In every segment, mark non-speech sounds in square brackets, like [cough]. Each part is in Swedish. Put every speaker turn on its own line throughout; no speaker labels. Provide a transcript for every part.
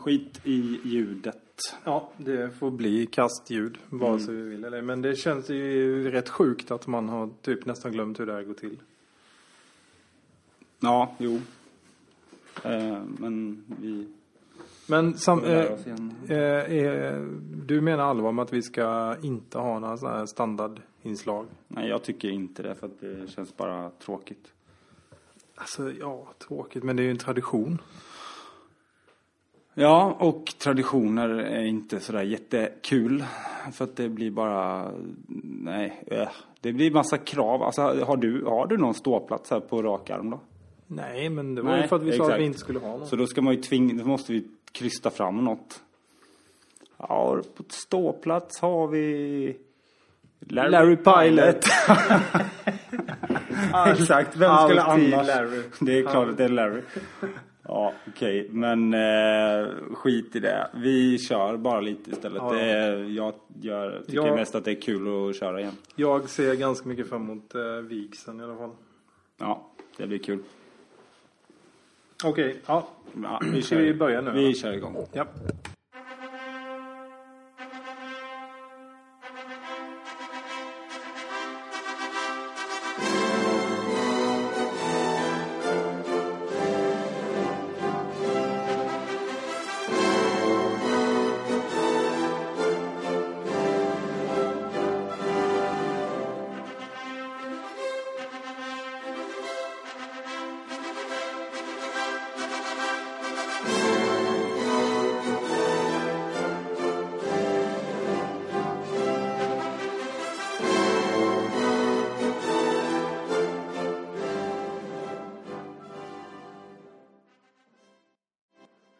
skit i ljudet.
Ja, det får bli kastljud, vare sig vi vill eller ej. Men det känns ju rätt sjukt att man har typ nästan glömt hur det här går till.
Ja, jo. Eh, men vi...
Men sam,
Vi lär
eh,
oss igen.
eh, eh, du menar allvar med att vi ska inte ha några sådana här standardinslag?
Nej, jag tycker inte det för att det känns bara tråkigt.
Alltså, ja, tråkigt, men det är ju en tradition.
Ja, och traditioner är inte sådär jättekul. För att det blir bara... Nej, äh. det blir massa krav. Alltså, har du, har du någon ståplats här på rak arm då?
Nej, men det var ju
Nej,
för att vi sa
exakt.
att vi inte skulle ha någon.
Så då ska man ju tving, då måste vi krysta fram något. Ja, på ståplats har vi Larry, Pilot. ja, exakt, vem skulle
Alltid
annars?
Larry.
Det är klart att det är Larry. Ja, okej, men eh, skit i det. Vi kör bara lite istället.
Ja.
Det är, jag, jag tycker
Ja.
mest att det är kul att köra igen.
Jag ser ganska mycket fram emot eh, vigseln i alla fall.
Ja, det blir kul.
Okej, ja.
Ja, vi
Ska vi börja nu,
Vi
eller?
kör igång.
ja.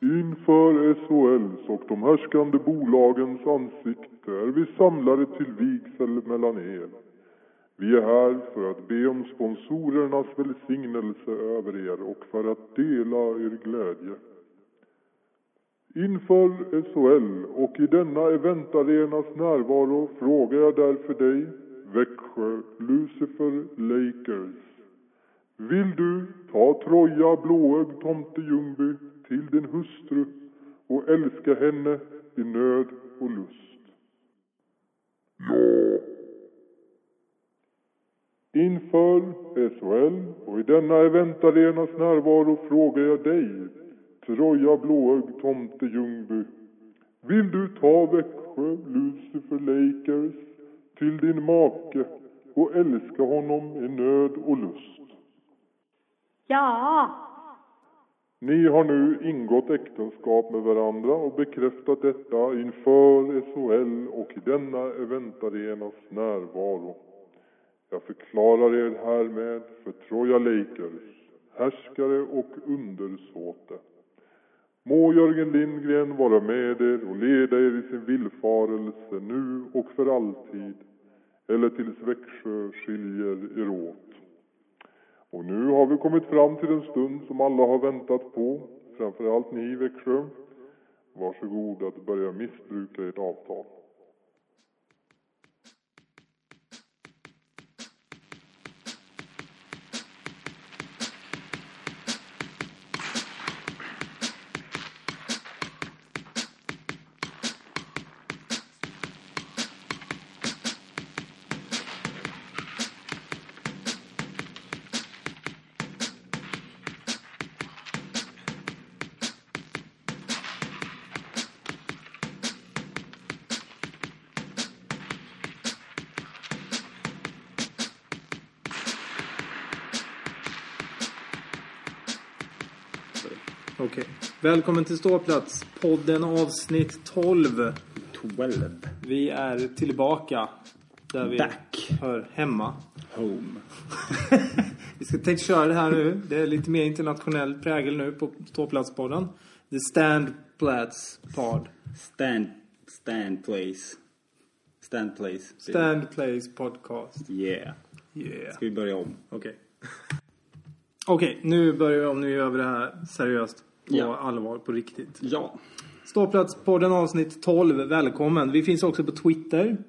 Inför SHLs och de härskande bolagens ansikte är vi samlade till vigsel mellan er. Vi är här för att be om sponsorernas välsignelse över er och för att dela er glädje. Inför SHL och i denna eventarenas närvaro frågar jag därför dig, Växjö Lucifer Lakers. Vill du ta Troja blåögd tomte Ljungby till din hustru och älska henne i nöd och lust? Ja. Inför SHL och i denna eventarenas närvaro frågar jag dig, Troja blåögd tomte Ljungby. Vill du ta Växjö Lucifer Lakers till din make och älska honom i nöd och lust?
Ja,
Ni har nu ingått äktenskap med varandra och bekräftat detta inför SOL och i denna eventarenas närvaro. Jag förklarar er härmed för Troja Lakers, härskare och undersåte. Må Jörgen Lindgren vara med er och leda er i sin villfarelse nu och för alltid, eller tills Växjö skiljer er åt. Och nu har vi kommit fram till den stund som alla har väntat på, framförallt ni i Växjö. Varsågod att börja missbruka ert avtal.
Okej. Välkommen till Ståplats, podden avsnitt 12.
12.
Vi är tillbaka där vi
Back.
hör hemma. [laughs]
Home.
Vi ska tänkt köra det här nu. Det är lite mer internationell prägel nu på Ståplatspodden. The Standplats Pod.
Stand, stand place. Stand place.
Standplays Podcast.
Yeah.
Yeah.
Ska vi börja om?
Okej. Okej, nu börjar vi om. Nu gör vi det här seriöst. På
Ja.
allvar, på riktigt.
Ja.
Ståplatspodden avsnitt 12. Välkommen. Vi finns också på Twitter.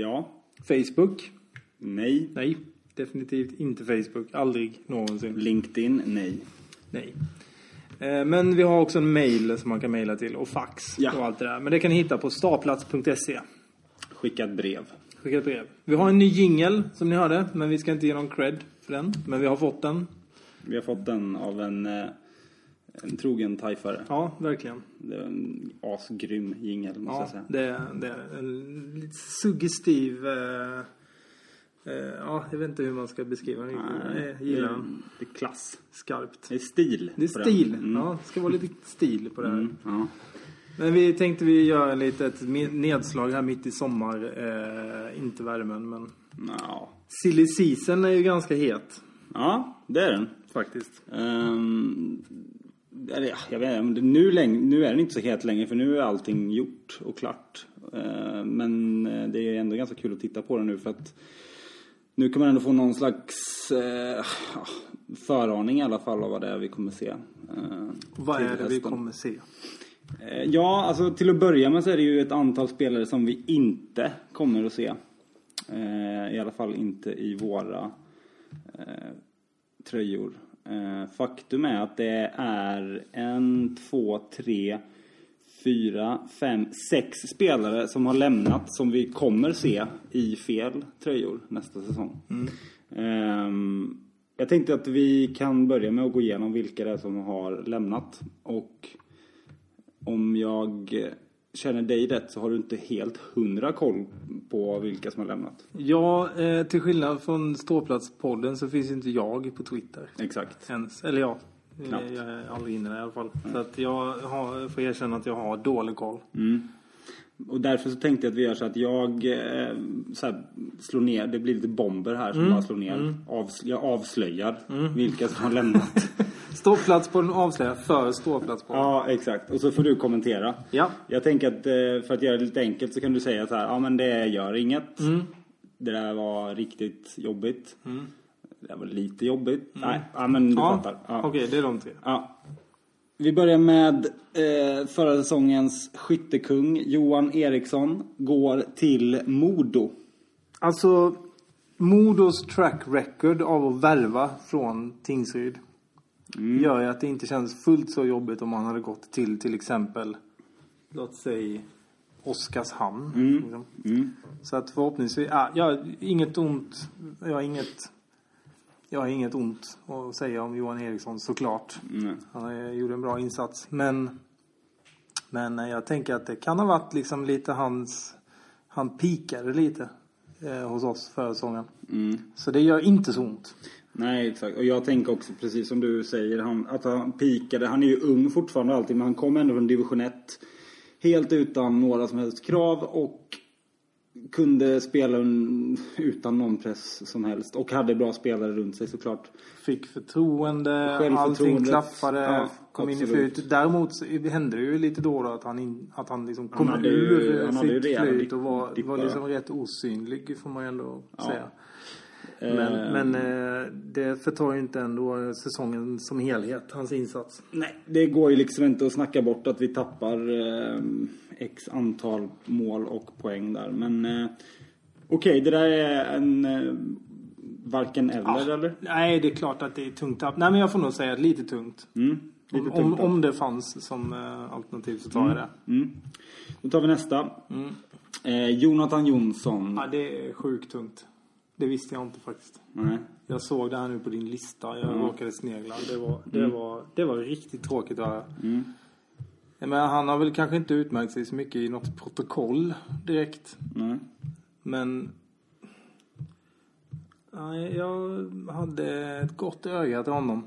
Ja.
Facebook.
Nej.
Nej.
Mm.
Definitivt inte Facebook. Aldrig någonsin.
LinkedIn? Nej.
Nej. Eh, Men vi har också en mail som man kan mejla till och fax
Ja.
och allt det där. Men det kan ni hitta på staplats.se.
Skicka ett brev.
Skicka ett brev. Vi har en ny jingel som ni hörde, men vi ska inte ge någon cred för den. Men vi har fått den.
Vi har fått den av en, eh, en trogen tajfare.
Ja, verkligen.
Det var en asgrym jingel måste
Ja,
jag säga.
det, det är en lite suggestiv... Eh, eh, ja, jag vet inte hur man ska beskriva den. Jag gillar den
det, det är klass.
skarpt.
Det är stil.
Det är
på den.
stil.
Mm.
Ja, det ska vara lite stil på det här.
Ja.
Men vi tänkte vi gör lite ett me- nedslag här mitt i sommar. Eh, inte värmen, men...
Ja.
Silly season är ju ganska het,
ja, det är den.
faktiskt.
Ehm, eller, ja, jag vet inte, men det- nu, läng- nu är den inte så het längre för nu är allting gjort och klart. Ehm, men eh, det är ändå ganska kul att titta på den nu för att nu kan man ändå få någon slags eh, ja, föraning i alla fall av vad det är vi kommer se. ehm,
Vad
till
är det vi
hösten.
kommer se?
Eh, Ja, alltså till att börja med så är det ju ett antal spelare som vi inte kommer att se. Eh, I alla fall inte i våra eh, tröjor. Eh, faktum är att det är en, två, tre, fyra, fem, sex spelare som har lämnat som vi kommer se i fel tröjor nästa säsong. Ehm, jag tänkte att vi kan börja med att gå igenom vilka det är som har lämnat. Och om jag eh, känner dig rätt så har du inte helt hundra koll på vilka som har lämnat.
Ja, eh, till skillnad från Ståplatspodden så finns ju inte jag på Twitter.
Exakt.
Ens. Eller ja, eh,
Knappt.
jag är aldrig inne där i alla fall. Så att jag har, får erkänna att jag har dålig koll.
Mm. Och därför så tänkte jag att vi gör så att jag eh, så här, slår ner, det blir lite bomber här som
Mm.
bara slår ner. Avs- jag avslöjar vilka som har
[laughs]
lämnat.
Ståplatspodden avslöjar för Ståplatspodden.
ja, exakt. Och så får du kommentera.
Ja.
Jag tänker att eh, för att göra det lite enkelt så kan du säga så här, ja men det gör inget.
Mm.
Det där var riktigt jobbigt. Det där var lite jobbigt. Nej, ja men du fattar. Ja.
Mm. Okej, det är de tre.
Ja. Vi börjar med eh, förra säsongens skyttekung Johan Eriksson går till Modo.
Alltså, Modos track record av att värva från Tingsryd gör ju att det inte känns fullt så jobbigt om han hade gått till till exempel, låt säga Oskarshamn. Liksom. Så att förhoppningsvis, ja, jag har inget ont, jag har inget, jag har inget ont att säga om Johan Eriksson såklart. Han eh, gjorde en bra insats. Men, men eh, jag tänker att det kan ha varit liksom lite hans... Han pikade lite eh, hos oss förra säsongen.
Mm.
Så det gör inte så ont.
Nej, exakt. Och jag tänker också precis som du säger han, att han pikade. Han är ju ung fortfarande och allting men han kom ändå från division 1. Helt utan några som helst krav och kunde spela un- utan någon press som helst. Och hade bra spelare runt sig såklart.
Fick förtroende, allting
Självförtroendet.
klaffade,
Ja,
kom in i
absolut.
flyt. Däremot så hände det ju lite då och då att han, in, att han liksom kom
hade ju-
ur
han hade ju
sitt
rejäla
flyt och var,
dippar.
var liksom rätt osynlig får man ju ändå säga.
Eh,
Men, men eh, det förtar ju inte ändå eh, säsongen som helhet, hans insats.
Nej, det går ju liksom inte att snacka bort att vi tappar eh, x antal mål och poäng där. Men eh, okej, det där är en eh, varken eller eller?
Nej, det är klart att det är tungt tapp. Nej, men jag får nog säga att lite tungt.
Mm, lite
om,
tungt.
om, om det fanns som eh, alternativ så tar jag det.
Mm. Då tar vi nästa. Eh, Jonathan Jonsson.
Ja, det är sjukt tungt. Det visste jag inte faktiskt.
Nej.
Jag såg det här nu på din lista. Jag
Mm.
råkade snegla. Det var, det, var, det var riktigt tråkigt att höra.
Mm.
Jag menar, han har väl kanske inte utmärkt sig så mycket i något protokoll direkt.
Nej.
Men... Nej, jag hade ett gott öga till honom.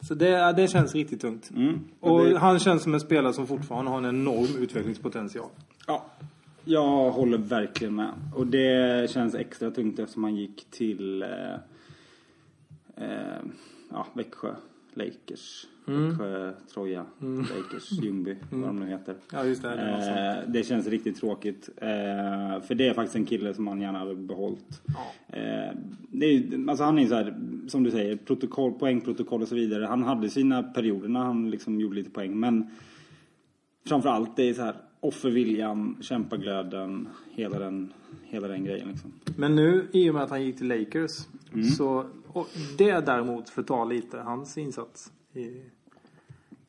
Så det, ja, det känns riktigt tungt.
Mm.
Och
det-
han känns som en spelare som fortfarande har en enorm utvecklingspotential.
Ja, jag håller verkligen med. Och det känns extra tungt eftersom han gick till eh, eh, ja, Växjö Lakers.
Mm.
Växjö, Troja, Lakers, Ljungby, vad de nu heter.
Ja, just det. det var så.
Eh, det känns riktigt tråkigt. Eh, för det är faktiskt en kille som man gärna hade behållit. Eh, det är, ju- alltså han är ju så här, som du säger, protokoll, poängprotokoll och så vidare. Han hade sina perioder när han liksom gjorde lite poäng. Men framförallt det är så här offerviljan, kämpaglöden, hela den, hela den grejen liksom.
Men nu, i och med att han gick till
Mm.
Lakers, så... Och det däremot förtar lite hans insats. I,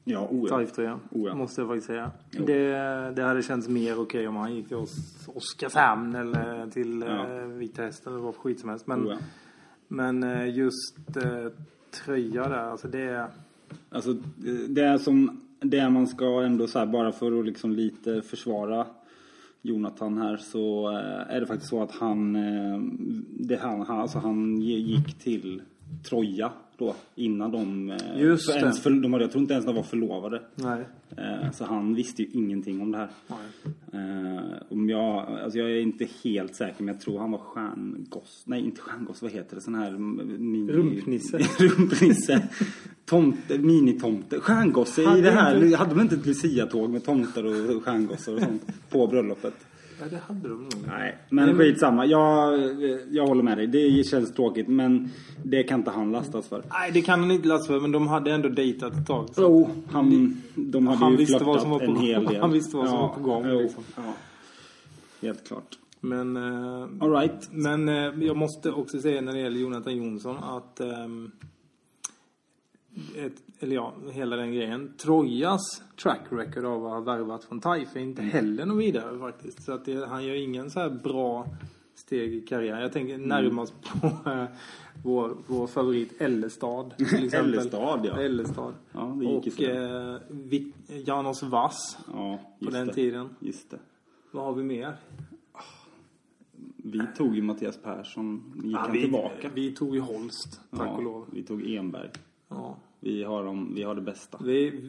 Oh Ja, o ja.
Taif-tröjan.
Oh ja.
Måste jag faktiskt säga.
Jo.
Det, det hade känts mer okej om han gick till Os- Oskarshamn eller till
Ja.
eh, Vita Hästen eller vad för skit som helst. Men,
Oh ja.
men eh, just eh, tröja där, alltså det är...
Alltså det är som det man ska ändå så här bara för att liksom lite försvara Jonathan här så eh, är det faktiskt så att han, eh, det han, han, alltså han ge- gick till Troja då innan de, eh,
Just
för
det.
ens för, de hade, jag tror inte ens de var förlovade.
Nej.
Eh, Så han visste ju ingenting om det här. Eh, Om jag, alltså jag är inte helt säker men jag tror han var stjärngoss. Nej inte stjärngoss, vad heter det? Sån här mini...
Rumpnisse.
[laughs] Rumpnisse. Tomte, minitomte. Stjärngosse i
Hade
det här.
inte-
Hade man inte ett luciatåg med tomtar och stjärngossar och sånt på bröllopet?
Ja, det hade de nog.
Nej, men skitsamma. Jag, jag håller med dig. Det känns tråkigt men det kan inte han lastas för.
Nej, det kan han inte lasta för, men de hade ändå dejtat ett tag. Så.
Jo, han, de hade
Han
ju
visste vad
flörtat
som var på-
en hel del.
han visste vad som var på gång,
jo,
liksom.
ja. Helt klart.
Men, eh,
All right.
men eh, jag måste också säga när det gäller Jonathan Jonsson att... ehm, ett, eller ja, hela den grejen. Trojas track record av att ha värvat från Taif är inte heller något vidare faktiskt. Så att det, han gör ingen så här bra steg i karriären. Jag tänker
Mm.
närmast på eh, vår, vår favorit Ellestad
[laughs]
till exempel.
Ellestad, ja.
Ellestad.
Ja, det gick ju
Och eh, Vi- Janos Vass.
Ja, just
den
det.
tiden.
Just det.
Vad har vi mer?
Vi tog ju Mattias Persson. Gick han
vi,
tillbaka?
vi tog ju Holst, tack
ja,
och lov.
Vi tog Enberg.
Ja.
Vi har, dem, vi har det bästa.
Vi,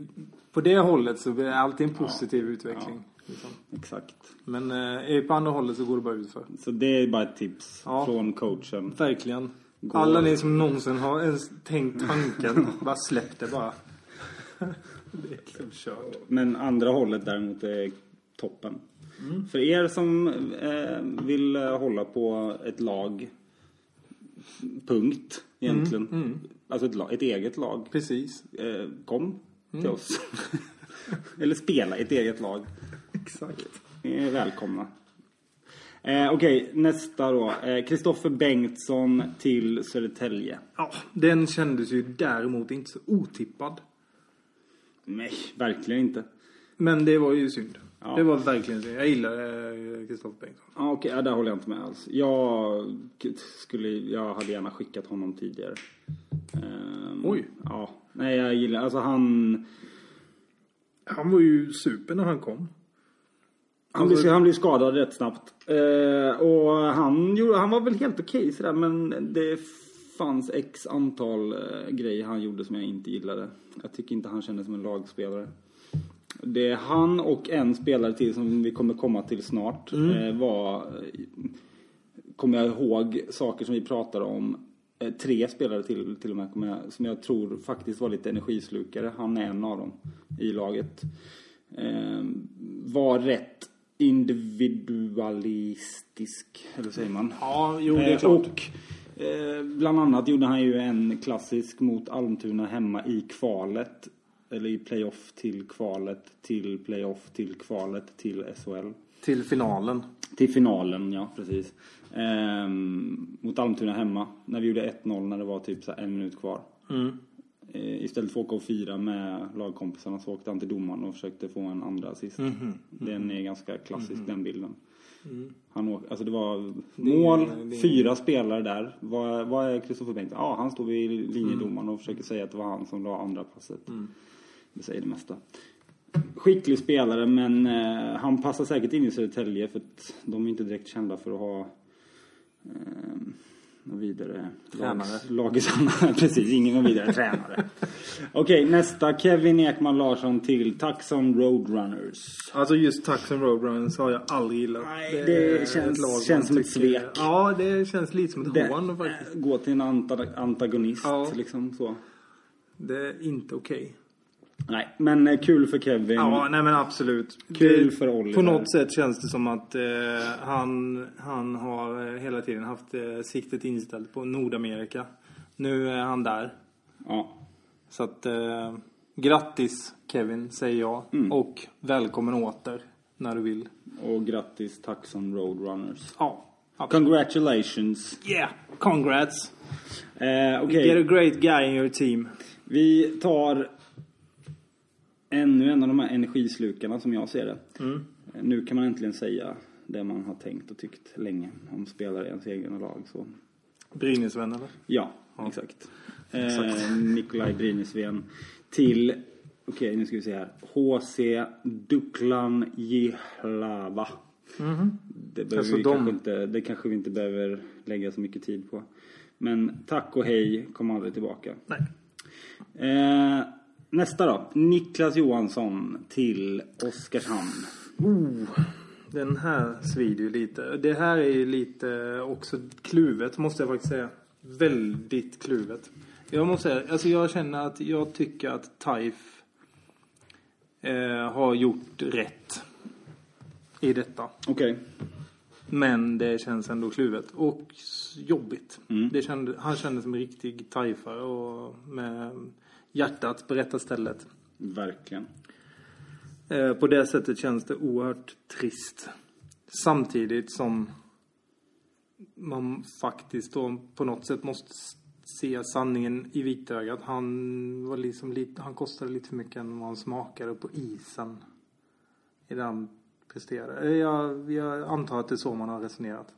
på det hållet så är det alltid en positiv utveckling. Liksom.
Exakt.
Men eh, på andra hållet så går det bara ut för.
Så det är bara ett tips
Ja.
från coachen.
Verkligen.
Går-
Alla ni som någonsin har ens tänkt [laughs] tanken, bara släpp det bara. [laughs] det är liksom kört.
Men andra hållet däremot är toppen. För er som eh, vill eh, hålla på ett lag, punkt egentligen. Alltså ett, lag, ett eget lag.
Precis.
Eh, kom till oss. [laughs] Eller spela i ett eget lag.
Exakt.
Ni är välkomna. Eh, Okej, nästa då. Kristoffer Bengtsson till Södertälje.
Ja, den kändes ju däremot inte så otippad.
Nej, verkligen inte.
Men det var ju synd.
Ja.
Det var verkligen synd. Jag gillar eh, Kristoffer Bengtsson.
Ah, Okej, ja, där håller jag inte med alls. Jag, skulle, jag hade gärna skickat honom tidigare. Ehm,
Oj.
Ja. Nej, jag gillar... Alltså han...
Han var ju super när han kom.
Han blev, han blev skadad rätt snabbt. Eh, och han, gjorde, han var väl helt okej sådär men det fanns x antal eh, grejer han gjorde som jag inte gillade. Jag tycker inte han kändes som en lagspelare. Det han och en spelare till som vi kommer komma till snart eh, var, eh, kommer jag ihåg, saker som vi pratade om. Eh, tre spelare till, till och med, kommer jag- som jag tror faktiskt var lite energislukare. Han är en av dem i laget. Eh, var rätt individualistisk, eller säger man?
Ja, jo det är
Eh,
klart.
Och eh, bland annat gjorde han ju en klassisk mot Almtuna hemma i kvalet. Eller i playoff till kvalet, till playoff, till kvalet, till SHL.
Till finalen.
Till finalen, ja precis. Ehm, mot Almtuna hemma. När vi gjorde 1-0 när det var typ så här en minut kvar. Eh, istället för att åka och fira med lagkompisarna så åkte han till domaren och försökte få en andra assist. Den är ganska klassisk den bilden. Han åk, alltså det var mål, fyra spelare där. Vad, vad är Kristoffer Bengtsson? Ja, han står vid linjedomaren och försöker säga att det var han som la andra passet. Det säger det mesta. Skicklig spelare men eh, han passar säkert in i Södertälje för att de är inte direkt kända för att ha eh, någon vidare
Tränare.
Lags, lags, [laughs] precis, ingen någon vidare tränare. Okej, nästa. Kevin Ekman Larsson till Taxon Roadrunners.
Alltså just Taxon Roadrunners har jag aldrig gillat.
Nej, det
är
känns-
ett lag man
känns som ett
tycker-
svek.
Ja, det känns lite som ett
Det- eh,
hån faktiskt.
Gå till en anta- antagonist
Ja.
liksom så.
Det är inte okej.
Mm. Nej, men eh, kul för Kevin.
Ja, nej men absolut.
Kul
Det-
för Oliver.
På något sätt känns det som att eh, han, han har eh, hela tiden haft eh, siktet inställt på Nordamerika. Nu är han där.
Ja.
Så att eh, grattis Kevin, säger jag.
Mm.
Och välkommen åter när du vill.
Och grattis Taxon Roadrunners.
Ja, absolut.
Congratulations.
Yeah, congrats.
Eh, Okej,
Get a great guy in your team.
vi tar ännu en av de här energislukarna som jag ser det. Eh, Nu kan man äntligen säga det man har tänkt och tyckt länge om spelare i ens egna lag. Så.
Brynäsvän eller?
Ja, exakt. Eh, Nikolaj Brynäsven till, okej nu ska vi se här, HC Duklan Jihlava. Det, behöver
Alltså
vi
de-
Mm-hmm. kanske inte, det kanske vi inte behöver lägga så mycket tid på. Men tack och hej, kom aldrig tillbaka.
Nej.
Eh, nästa då. Niklas Johansson till Oskarshamn.
Den här svider ju lite. Det här är ju lite också kluvet måste jag faktiskt säga. Väldigt kluvet. Jag måste säga, alltså jag känner att jag tycker att Taif eh, har gjort rätt i detta.
Okej.
Men det känns ändå kluvet och s- jobbigt. Det kände, han kändes som en riktig Taifare och med hjärtat på rätta stället.
Verkligen.
Eh, På det sättet känns det oerhört trist. Samtidigt som man faktiskt då på något sätt måste s- se sanningen i vitögat. Han var liksom lite, han kostade lite för mycket än vad han smakade på isen. I det han presterade. Eh, Jag, jag antar att det är så man har resonerat.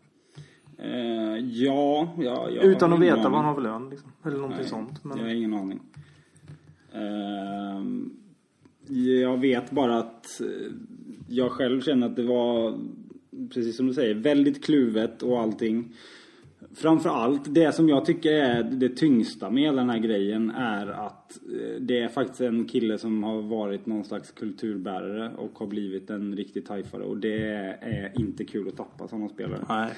Eh, ja, ja, jag
Utan
har
att
ingen
veta vad han
aning.
har för lön liksom. Eller någonting
Nej,
sånt. Men
Jag har ingen aning. Ehm, jag vet bara att eh, jag själv känner att det var, precis som du säger, väldigt kluvet och allting. Framförallt, det som jag tycker är det tyngsta med hela den här grejen är att eh, det är faktiskt en kille som har varit någon slags kulturbärare och har blivit en riktig tajfare och det är inte kul att tappa sådana spelare.
nej.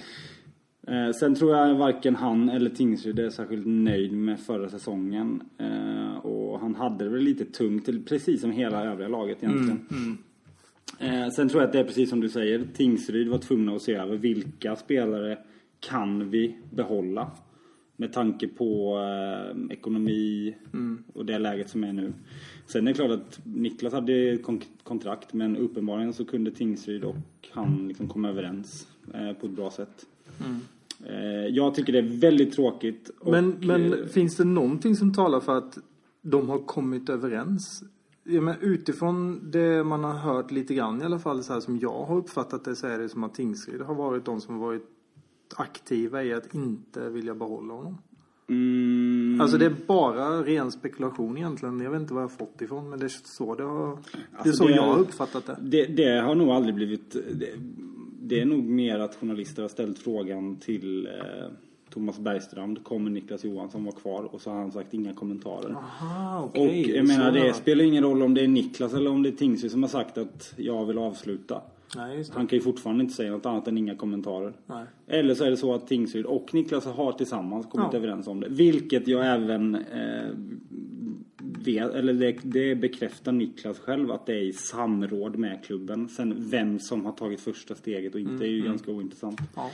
Eh, sen tror jag varken han eller Tingsryd är särskilt nöjd med förra säsongen. Eh, och han hade det väl lite tungt, precis som hela övriga laget egentligen. Eh, sen tror jag att det är precis som du säger. Tingsryd var tvungna att se över vilka spelare kan vi behålla? Med tanke på eh, ekonomi
Mm.
och det läget som är nu. Sen är det klart att Niklas hade kon- kontrakt men uppenbarligen så kunde Tingsryd och han liksom komma överens eh, på ett bra sätt. Eh, jag tycker det är väldigt tråkigt. Och,
Mm. Men, men
eh,
finns det någonting som talar för att de har kommit överens? Ja, men utifrån det man har hört lite grann i alla fall, så här som jag har uppfattat det, så är det som att Tingsryd har varit de som varit aktiva i att inte vilja behålla honom.
mm,
Alltså det är bara ren spekulation egentligen. Jag vet inte var jag har fått ifrån, men det är så, det har, det är
Alltså,
så
det-
jag har uppfattat det.
Det, det har nog aldrig blivit... Det, det är nog mer att journalister har ställt frågan till eh, Thomas Bergstrand. Kommer Niklas Johansson vara kvar? Och så har han sagt inga kommentarer.
Aha,
och
Ah, okej.
jag menar
Så-
det spelar ingen roll om det är Niklas eller om det är Tingsryd som har sagt att jag vill avsluta.
Nej, just det.
Han kan ju fortfarande inte säga något annat än inga kommentarer.
Nej.
Eller så är det så att Tingsryd och Niklas har tillsammans kommit
Ja.
överens om det. Vilket jag även eh, vet, eller det, det bekräftar Niklas själv att det är i samråd med klubben. Sen vem som har tagit första steget och inte är ju ganska ointressant.
Ja.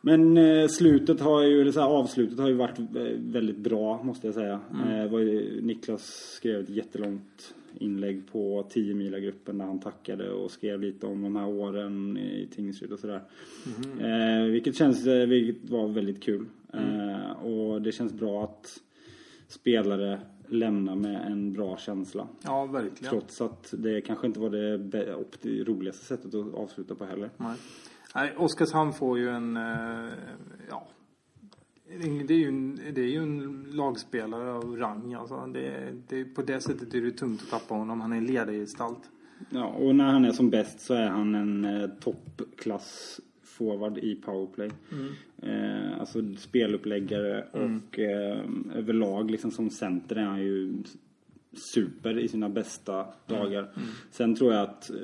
Men eh, slutet har ju, eller så här, avslutet har ju varit eh, väldigt bra måste jag säga. Eh, det var ju, Niklas skrev ett jättelångt inlägg på 10 gruppen där han tackade och skrev lite om de här åren i Tingsryd och sådär. Eh, vilket känns, eh, vilket var väldigt kul. Eh, och det känns bra att spelare lämnar med en bra känsla.
ja, verkligen.
Trots att det kanske inte var det be- opt- roligaste sättet att avsluta på heller.
Nej. Nej, Oskarshamn får ju en... eh, Ja, det är ju en, det är ju en lagspelare av rang. Alltså. Det, det, på det sättet är det tungt att tappa honom. Han är en ledargestalt.
Ja, och när han är som bäst så är han en eh, toppklass forward i powerplay. Eh, alltså speluppläggare och eh, överlag liksom som center är han ju super i sina bästa dagar. Sen tror jag att eh,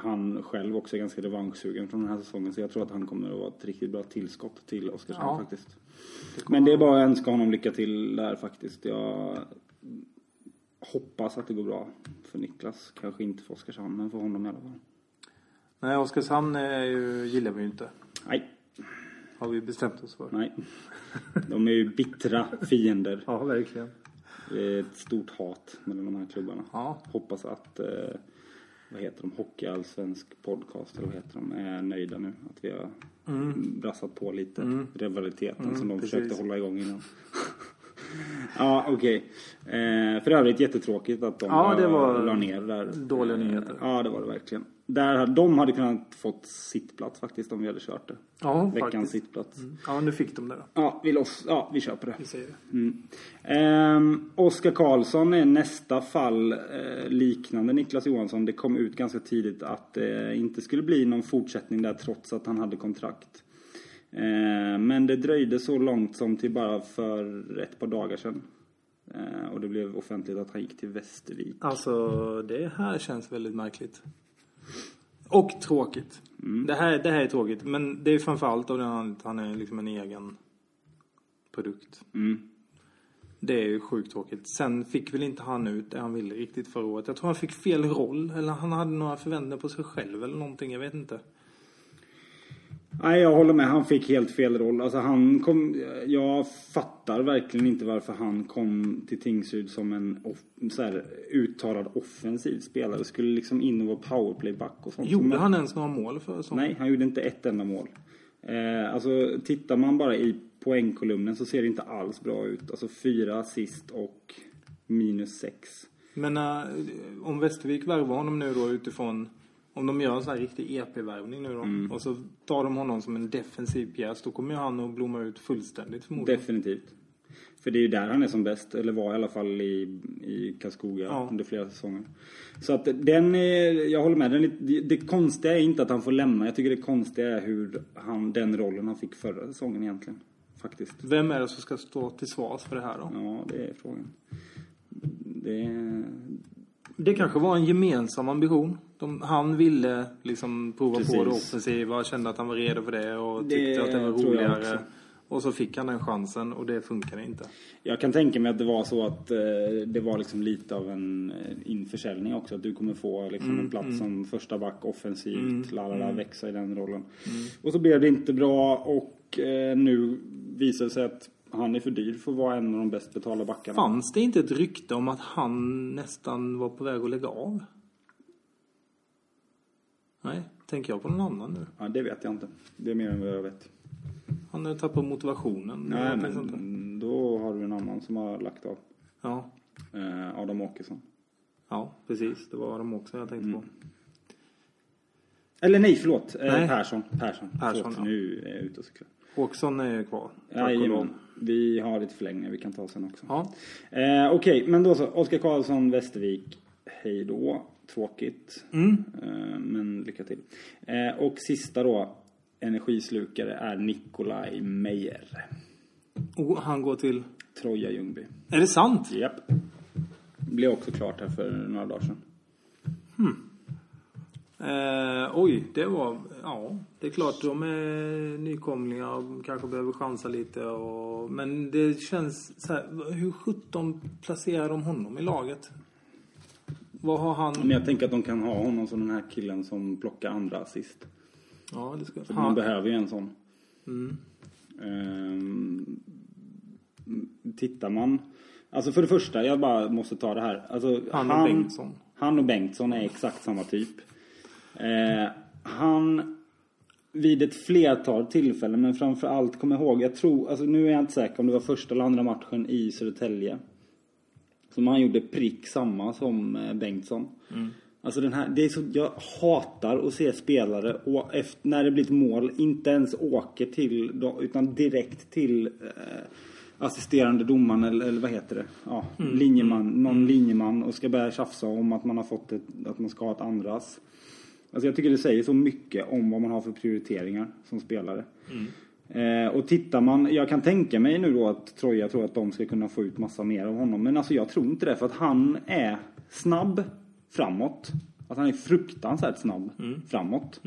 han själv också är ganska revanschsugen från den här säsongen så jag tror att han kommer att vara ett riktigt bra tillskott till Oskarshamn
Ja.
faktiskt. Men det är bara att önska honom lycka till där faktiskt. Jag hoppas att det går bra för Niklas. Kanske inte för Oskarshamn, men för honom i alla fall.
Nej, Oskarshamn är ju, gillar vi ju inte.
Nej,
Har vi bestämt oss för.
nej. De är ju bittra fiender.
Ja, verkligen.
Det är ett stort hat mellan de här klubbarna.
Ja.
Hoppas att, eh, vad heter de, Hockeyallsvensk podcast eller vad heter de, är nöjda nu. Att vi har brassat på lite rivaliteten som de
Mm. precis.
försökte hålla igång innan. [laughs] Ja, okej. Eh, för övrigt jättetråkigt att de eh,
Ja, det var
la ner där.
dåliga nyheter.
Eh, Ja, det var det verkligen. Där, de hade kunnat fått sittplats faktiskt om vi hade kört det.
Ja,
Veckans
faktiskt.
sittplats.
Ja, nu fick de det då.
Ja, vi loss, ja, vi köper det.
Vi säger det.
Mm. Ehm, Oskar Karlsson är nästa fall eh, liknande Niklas Johansson. Det kom ut ganska tidigt att det inte skulle bli någon fortsättning där trots att han hade kontrakt. Ehm, men det dröjde så långt som till bara för ett par dagar sedan. Ehm, och det blev offentligt att han gick till Västervik.
Alltså, det här känns väldigt märkligt. Och tråkigt.
Mm.
Det, här, det här är tråkigt. Men det är framförallt av den anledningen att han är liksom en egen produkt.
Mm.
Det är ju sjukt tråkigt. Sen fick väl inte han ut det han ville riktigt förra året. Jag tror han fick fel roll. Eller han hade några förväntningar på sig själv eller någonting. Jag vet inte.
Nej, jag håller med. Han fick helt fel roll. Alltså, han kom, jag fattar verkligen inte varför han kom till Tingsryd som en off, så här, uttalad offensiv spelare. Skulle liksom in och vara powerplayback och sånt.
Gjorde
Men-
han ens några mål för sånt?
Nej, han gjorde inte ett enda mål. Eh, alltså, tittar man bara i poängkolumnen så ser det inte alls bra ut. Alltså fyra assist och minus sex.
Men eh, om Västervik värvar honom nu då utifrån om de gör en sån här riktig EP-värvning nu då
Mm.
och så tar de honom som en defensiv pjäs då kommer ju han att blomma ut fullständigt förmodligen.
Definitivt. För det är ju där han är som bäst, eller var i alla fall i, i Karlskoga
Ja.
under flera säsonger. Så att den är, jag håller med, den är, det- det konstiga är inte att han får lämna. Jag tycker det konstiga är hur han, den rollen han fick förra säsongen egentligen. Faktiskt.
Vem är det som ska stå till svars för det här då?
Ja, det är frågan. Det är,
Det kanske var en gemensam ambition. De, han ville liksom prova på det
Precis.
offensiva, kände att han var redo för det och
Det
tyckte att det var
tror jag
roligare.
också.
Och så fick han den chansen och det funkade inte.
jag kan tänka mig att det var så att eh, det var liksom lite av en eh, införsäljning också. Att du kommer få liksom
Mm,
en plats som första back offensivt, lalala, växa i den rollen.
Mm.
Och så blev det inte bra och eh, nu visar det sig att han är för dyr för att vara en av de bäst betalda backarna.
Fanns det inte ett rykte om att han nästan var på väg att lägga av? Nej, tänker jag på någon annan nu?
Ja, det vet jag inte. Det är mer än vad jag vet.
Han har tappat motivationen.
Nej,
eller något sånt där.
men då har du en annan som har lagt av.
Ja,
Eh, Adam Åkesson.
ja, precis. Det var de också jag tänkte
Mm.
på.
Eller nej, förlåt. Eh,
Nej.
Persson. Persson.
Persson,
förlåt,
ja.
Nu är jag ute och cyklar.
Håkson är ju kvar. Tack och lov.
Jajamän. Vi har lite förlängningar vi kan ta sen också.
Ja,
Eh, Okej, men då så. Oskar Karlsson, Västervik. Hej då. Tråkigt. Eh, men lycka till. Eh, och sista då. Energislukare är Nikolaj Meyer.
och han går till...
Troja Ljungby.
Är det sant?
Japp. Blev också klart här för några dagar sedan.
Eh, oj, det var... Ja, det är klart de är nykomlingar och kanske behöver chansa lite. Och, men det känns så här, Hur sjutton placerar de honom i laget? Vad har han...
Men jag tänker att de kan ha honom som den här killen som plockar andra assist.
Ja, Mm. det ska,
För man
han,
behöver ju en sån. Ehm, tittar man... Alltså för det första, jag bara måste ta det här. Alltså,
Han och Bengtsson.
Han och Bengtsson är exakt samma typ. Eh, han vid ett flertal tillfällen, men framför allt kom ihåg, jag tror, alltså nu är jag inte säker om det var första eller andra matchen i Södertälje. Som han gjorde prick samma som eh, Bengtsson. Alltså den här, det är så, jag hatar att se spelare och efter, när det blir ett mål inte ens åker till, då- utan direkt till eh, assisterande domaren eller, eller vad heter det? Ja, linjeman, någon linjeman och ska börja tjafsa om att man har fått ett, att man ska ha ett andras. Alltså jag tycker det säger så mycket om vad man har för prioriteringar som spelare. Eh, och tittar man, jag kan tänka mig nu då att Troja tror att de ska kunna få ut massa mer av honom. Men alltså jag tror inte det för att han är snabb framåt. Alltså han är fruktansvärt snabb framåt.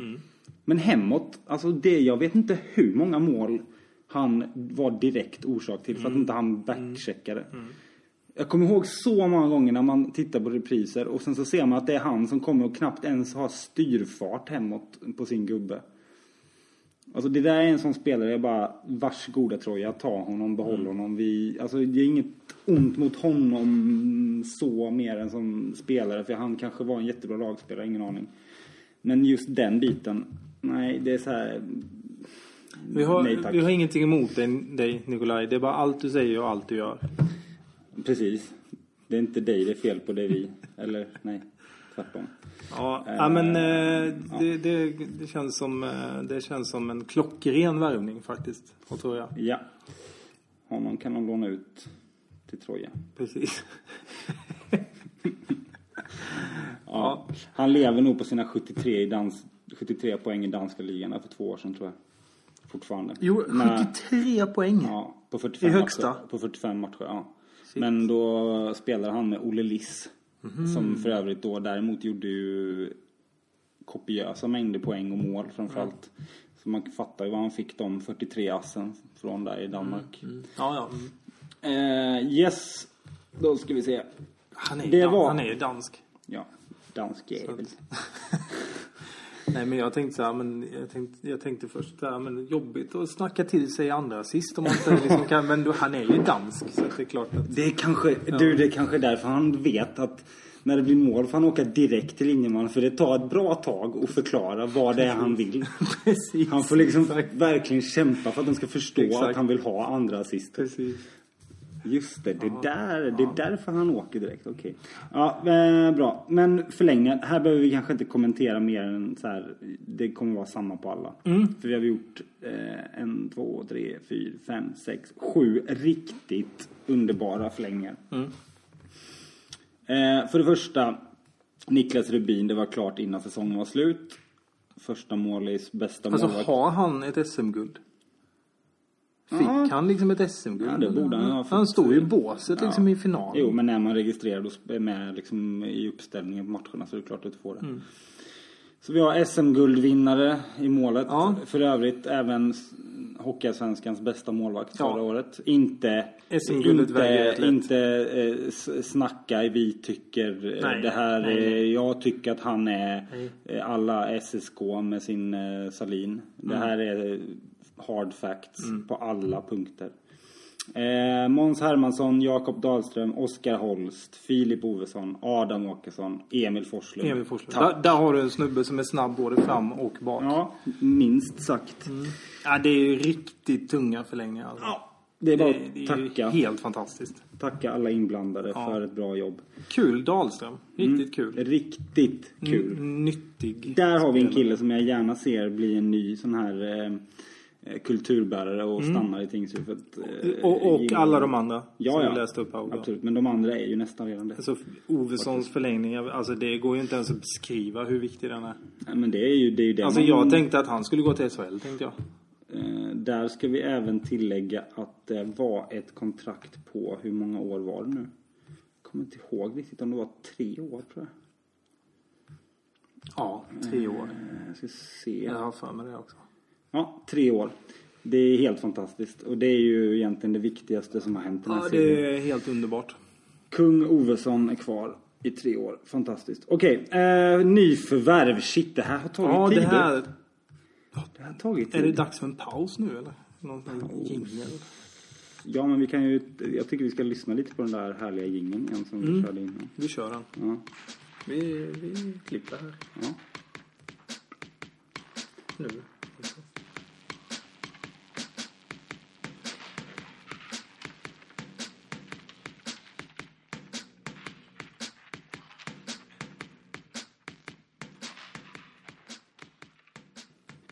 Men hemåt, alltså det, jag vet inte hur många mål han var direkt orsak till för att inte han backcheckade. Jag kommer ihåg så många gånger när man tittar på repriser och sen så ser man att det är han som kommer och knappt ens har styrfart hemåt på sin gubbe. Alltså det där är en sån spelare, jag bara varsågoda Troja, ta honom, behåll honom. Vi, alltså det är inget ont mot honom så mer än som spelare för han kanske var en jättebra lagspelare, ingen aning. Men just den biten, nej det är så här.
vi, har,
nej tack.
vi har ingenting emot dig, dig, Nikolaj. Det är bara allt du säger och allt du gör.
Precis. Det är inte dig det är fel på, det är vi. Eller nej, tvärtom.
Ja, ja men eh, det, det, det, känns som, eh, det känns som en klockren värvning faktiskt. Vad tror jag.
Ja. Honom kan de låna ut till Troja.
Precis.
Ja. Han lever nog på sina 73, i dans, 73 poäng i danska ligan där för två år sedan tror jag. Fortfarande.
Jo,
Men-
73 poäng.
Ja, på 45
I högsta?
matcher. På 45 matcher, ja. Men då spelade han med Olle Liss.
Mhm.
Som för övrigt då däremot gjorde ju kopiösa mängder poäng och mål framförallt. Så man fattar ju vad han fick de 43 assen från där i Danmark.
Ja, ja. mm.
Eh, yes, då ska vi se.
Han är,
Det
dan-
var-
han är ju dansk.
Ja, dansk jävel.
Nej men jag tänkte så här, men jag tänkte, jag tänkte först så här, men jobbigt att snacka till sig andra sist om
[laughs]
man inte liksom kan, men du, han är ju dansk så att det är klart att [laughs]
Det är kanske, du, det är kanske därför han vet att när det blir mål får han åka direkt till Ingemann. För det tar ett bra tag att förklara vad det är han vill.
[laughs] Precis.
Han får liksom
Exakt.
verkligen kämpa för att de ska förstå
Exakt.
att han vill ha andra assist.
Precis.
Just det, det, där, det är därför han åker direkt. Okej. Ja, eh, bra. Men förlänga. Här behöver vi kanske inte kommentera mer än så här. Det kommer vara samma på alla. För vi har gjort eh, en, två, tre, fyra, fem, sex, sju riktigt underbara förlängningar. Eh, för det första, Niklas Rubin, det var klart innan säsongen var slut. Första målis, bästa
Alltså
målvakt.
har han ett SM-guld? Fick han liksom ett SM-guld?
Ja, det borde han ha fått.
Han stod ju i båset liksom
Ja.
i finalen.
Jo, men när man registrerar och sp- är med liksom i uppställningen på matcherna så är det klart att du får det.
Mm.
Så vi har SM-guldvinnare i målet.
Ja.
För övrigt även s- Hockeyallsvenskans bästa målvakt
Ja.
förra året. Inte,
SM-guldet väger
inte,
rätt lätt.
inte eh, s- snacka i vi tycker eh,
Nej,
det här.
nej, nej.
eh, Jag tycker att han är
Mm.
eh, alla SSK med sin eh, Salin. Det här
Mm.
är eh, hard facts på alla punkter. Eh, Måns Hermansson, Jakob Dahlström, Oskar Holst, Filip Ovesson, Adam Åkesson, Emil Forslund.
Emil Forslund.
Tack.
Där, där har du en snubbe som är snabb både fram och bak. Ja,
Ja, minst sagt.
Mm. det är ju riktigt tunga förlängningar. Alltså.
Ja, det är bara
det, det
att
är ju
tacka.
helt fantastiskt.
Tacka alla inblandade för ett bra jobb.
Kul Dahlström.
Mm.
Riktigt kul. Mm.
Riktigt kul.
N- nyttig.
Där har vi en kille som jag gärna ser bli en ny sån här eh, eh, kulturbärare och stannar i tingshuvudet. eh,
Mm. Och, och
genom-
alla de andra som
ja,
du
ja.
läste upp här. Absolut.
Absolut, men de andra är ju nästan redan det.
Alltså Ovessons förlängning, alltså det går ju inte ens att beskriva hur viktig den är.
Nej, men det är ju det, är ju det
Alltså
man-
jag tänkte att han skulle gå till SHL tänkte jag.
Eh, där ska vi även tillägga att det var ett kontrakt på, hur många år var det nu? Jag kommer inte ihåg riktigt om det var tre år tror jag.
Ja, tre år.
Eh, Jag ska se.
Jag har för mig det också.
Ja, tre år. Det är helt fantastiskt. Och det är ju egentligen det viktigaste som har hänt den här
Ja,
serien.
det är helt underbart.
Kung Ovesson är kvar i tre år. Fantastiskt. Okej, eh, nyförvärv. Shit, det här har tagit
Ja,
tid.
det här...
det här har tagit
Är
tid.
det dags för en paus nu eller? Någon sån här jingel?
Ja, men vi kan ju... Jag tycker vi ska lyssna lite på den där härliga jingeln igen som
Mm.
vi körde in.
Vi kör den.
Ja.
Vi, vi klipper här.
Ja.
Nu.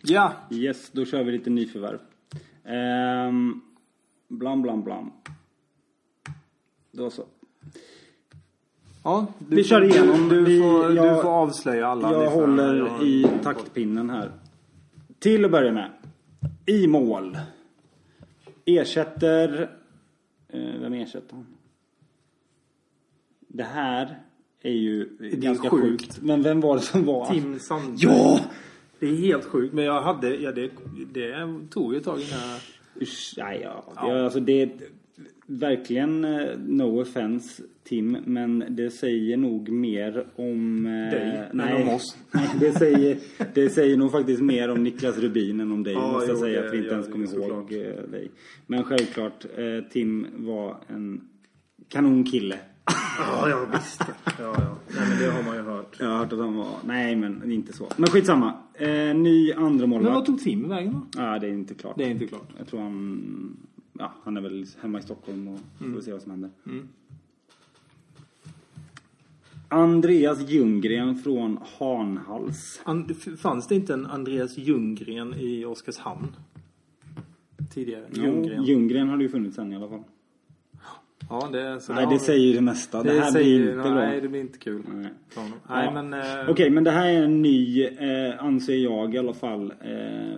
Ja,
Yes, då kör vi lite nyförvärv. Ehm, blam, blam, blam. Då så.
ja du,
Vi kör
får-
igenom.
Du,
Vi-
du, får,
jag-
du får avslöja alla.
Jag
listor.
håller
Jag-
i taktpinnen här. Till att börja med. I mål. Ersätter... Eh, vem ersätter han? Det här är ju ganska
sjukt.
sjukt. Men vem var det som var?
Tim Sandberg.
Ja!
Det är helt sjukt, men jag hade... Ja, det, det tog ju ett tag innan...
Usch, nej, ja. Det, alltså, det är verkligen eh, no offense Tim, men det säger nog mer om... eh,
Dig, men
nej,
om oss.
[laughs] Nej, det, säger, det säger nog faktiskt mer om Niklas Rubin än om dig.
Ja,
måste jag
jo,
säga
det
att vi inte
gör
ens
det
kommer
såklart.
ihåg eh, dig. Men självklart, eh, Tim var en kanonkille.
Ja, ja visst. Ja, ja. Nej, men det har man ju hört.
Jag har hört att han var... Nej, men inte så. Men skitsamma. Eh, ny andra
Men
målvakt.
vart tog Tim vägen då?
Ja, det är inte klart.
Det är inte klart. Mm.
Jag tror han... Ja, han är väl hemma i Stockholm och får vi se vad som händer. Andreas Ljunggren från Hanhals.
And, fanns det inte en Andreas Ljunggren i Oskarshamn? Tidigare?
Ljunggren.
Ljunggren.
Ljunggren har det ju funnits sen i alla fall.
Ja, det, är- så
Nej,
har
det
vi-
säger ju det mesta. Det, här blir inte bra.
Nej, det blir inte kul.
Nej.
Nej, nej
Ja.
men... Eh,
Okej, men det här är en ny, eh, anser jag i alla fall. Eh,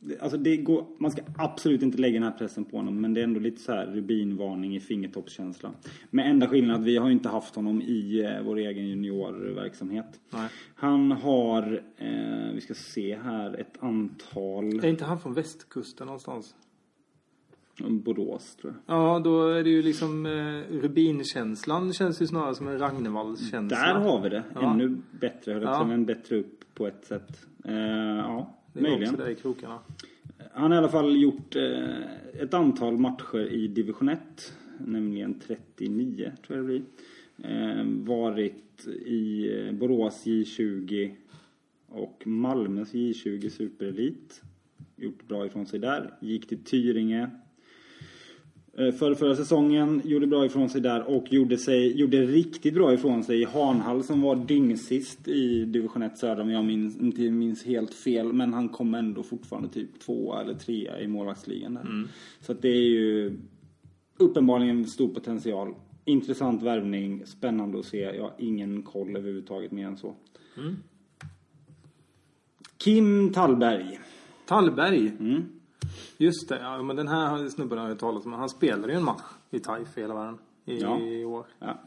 det- alltså det går, man ska absolut inte lägga den här pressen på honom, men det är ändå lite så här rubinvarning i fingertoppskänsla. Med enda skillnad, vi har ju inte haft honom i eh, vår egen juniorverksamhet.
Nej.
Han har, eh, vi ska se här, ett antal,
Är inte han från västkusten någonstans?
Borås tror jag.
Ja, då är det ju liksom... Eh, rubinkänslan känns ju snarare som en Ragnevallkänsla.
Där har vi det.
Ja.
Ännu bättre, höll jag på att
Ja.
säga, men bättre upp på ett sätt. Eh, ja,
Det är också
möjligen.
där i krokarna.
Han har i alla fall gjort eh, ett antal matcher i division 1. Nämligen 39 tror jag det blir. Eh, varit i eh, Borås J20 och Malmös J20 Superelit. Gjort bra ifrån sig där. Gick till Tyringe. Eh, För förra säsongen gjorde bra ifrån sig där och gjorde, sig, gjorde riktigt bra ifrån sig i Hanhall som var dyngsist i division 1 södra om jag minns, inte minns helt fel. Men han kom ändå fortfarande typ tvåa eller trea i målvaktsligan där. Så att det är ju uppenbarligen stor potential. Intressant värvning, spännande att se. Jag har ingen koll överhuvudtaget mer än så. Kim Tallberg.
Tallberg!
Mm.
Just det, ja, men den här snubben har jag talat om. Han spelade ju en match i Taif i hela världen i
Ja.
år.
Ja.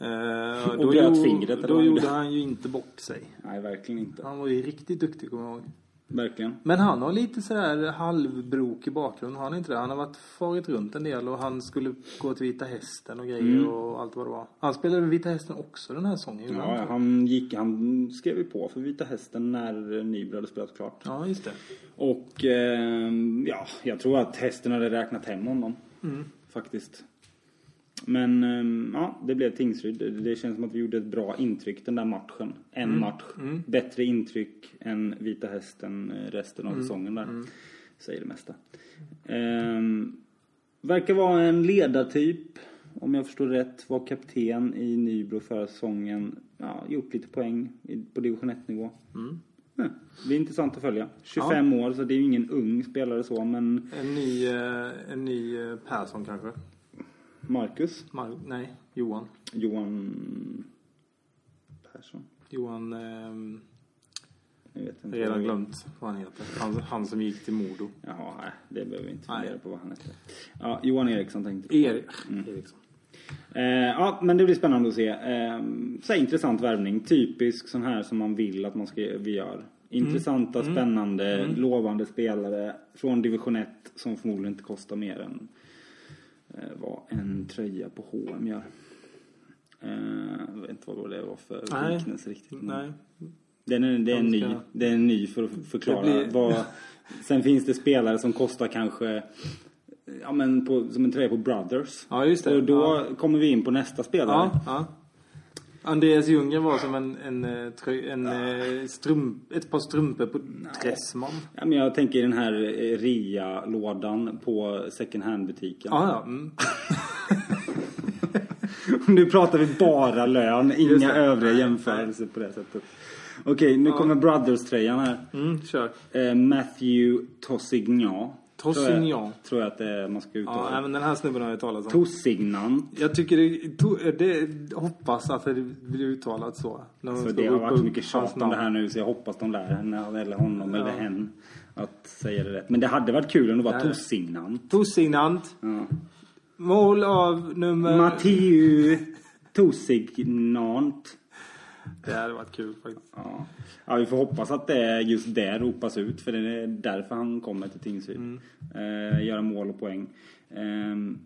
Eh,
Och
då
bröt
gjo-
fingret, eller
Då
vad
gjorde
det-
han ju inte bort sig.
Nej, verkligen inte.
Han var ju riktigt duktig kommer jag ihåg.
Verkligen.
Men han har lite sådär halvbrokig bakgrund, har han inte det? Han har varit farit runt en del och han skulle gå till Vita Hästen och grejer
Mm.
och allt vad det var. Han spelade Vita Hästen också den här sången gjorde han
Ja,
inte?
han, gick, han skrev ju på för Vita Hästen när Nybro hade spelat klart.
ja, just det.
Och ehm, ja, jag tror att hästen hade räknat hem honom. Faktiskt. Men ehm, ja, det blev Tingsryd. Det känns som att vi gjorde ett bra intryck den där matchen. En match. Bättre intryck än Vita Hästen eh, resten av säsongen där. Säger det mesta. Ehm, verkar vara en ledartyp. Om jag förstår rätt. Var kapten i Nybro förra säsongen. Ja, gjort lite poäng i- på division 1 nivå. Ja, Det är intressant att följa. 25 år, så det är ju ingen ung spelare så, men
En ny, eh, en ny eh, Persson kanske?
Marcus,
Mar- nej, Johan.
Johan Persson,
Johan... ehm,
jag vet inte.
Jag har redan glömt vad han heter. Han, han som gick till Modo.
Jaha, nej, det behöver vi inte
Nej.
fundera på vad han heter. Ja, Johan Eriksson tänkte jag.
Er, Eriksson.
Eh, ja, men det blir spännande att se. Eh, så här, intressant värvning. Typisk sån här som man vill att man ska, vi gör. Intressanta,
Mm.
spännande, lovande spelare från division 1 som förmodligen inte kostar mer än eh, vad en tröja på H&M gör. Eh, jag vet inte vad det var för
Nej.
liknelse riktigt. men-
Nej.
Den är, den, är ny,
Ganska-
den är ny för att förklara.
Det blir-
Vad, sen finns det spelare som kostar kanske ja, men på, som en tröja på Brothers.
Ja, just det.
Och då kommer vi in på nästa spelare.
Ja, ja. Andreas Ljunggren var som en, en, eh, trö, en eh, strump, ett par strumpor på Dressman.
Ja, men jag tänker den här eh, rea-lådan på second hand-butiken.
Ja, ja. Mm.
[laughs] nu pratar vi bara lön, inga
det.
övriga jämförelser på det sättet. Okej, nu kommer Brothers-tröjan här.
Mm, kör.
Eh, Matthew Tossignan. Tror
Tossignan.
jag, tror jag att det är, man ska
Ja,
uttala.
nej, men den här snubben har jag talat om.
Tossignant.
Jag tycker det, to- det hoppas att det blir uttalat så. När man
Så
ska
Alltså, det har
ropa
varit så
upp
mycket
hans
tjat om
namn.
det här nu så jag hoppas de lär henne eller honom eller hen att säga det rätt. Men det hade varit kul om det var
Nej.
Tossignan.
Tosignant.
Ja.
Mål av nummer...
Matteu Tosignant.
det hade varit kul faktiskt.
Ja. ja, vi får hoppas att det är just det ropas ut för det är därför han kommer till Tingsryd.
Mm.
Eh, göra mål och poäng. Ehm,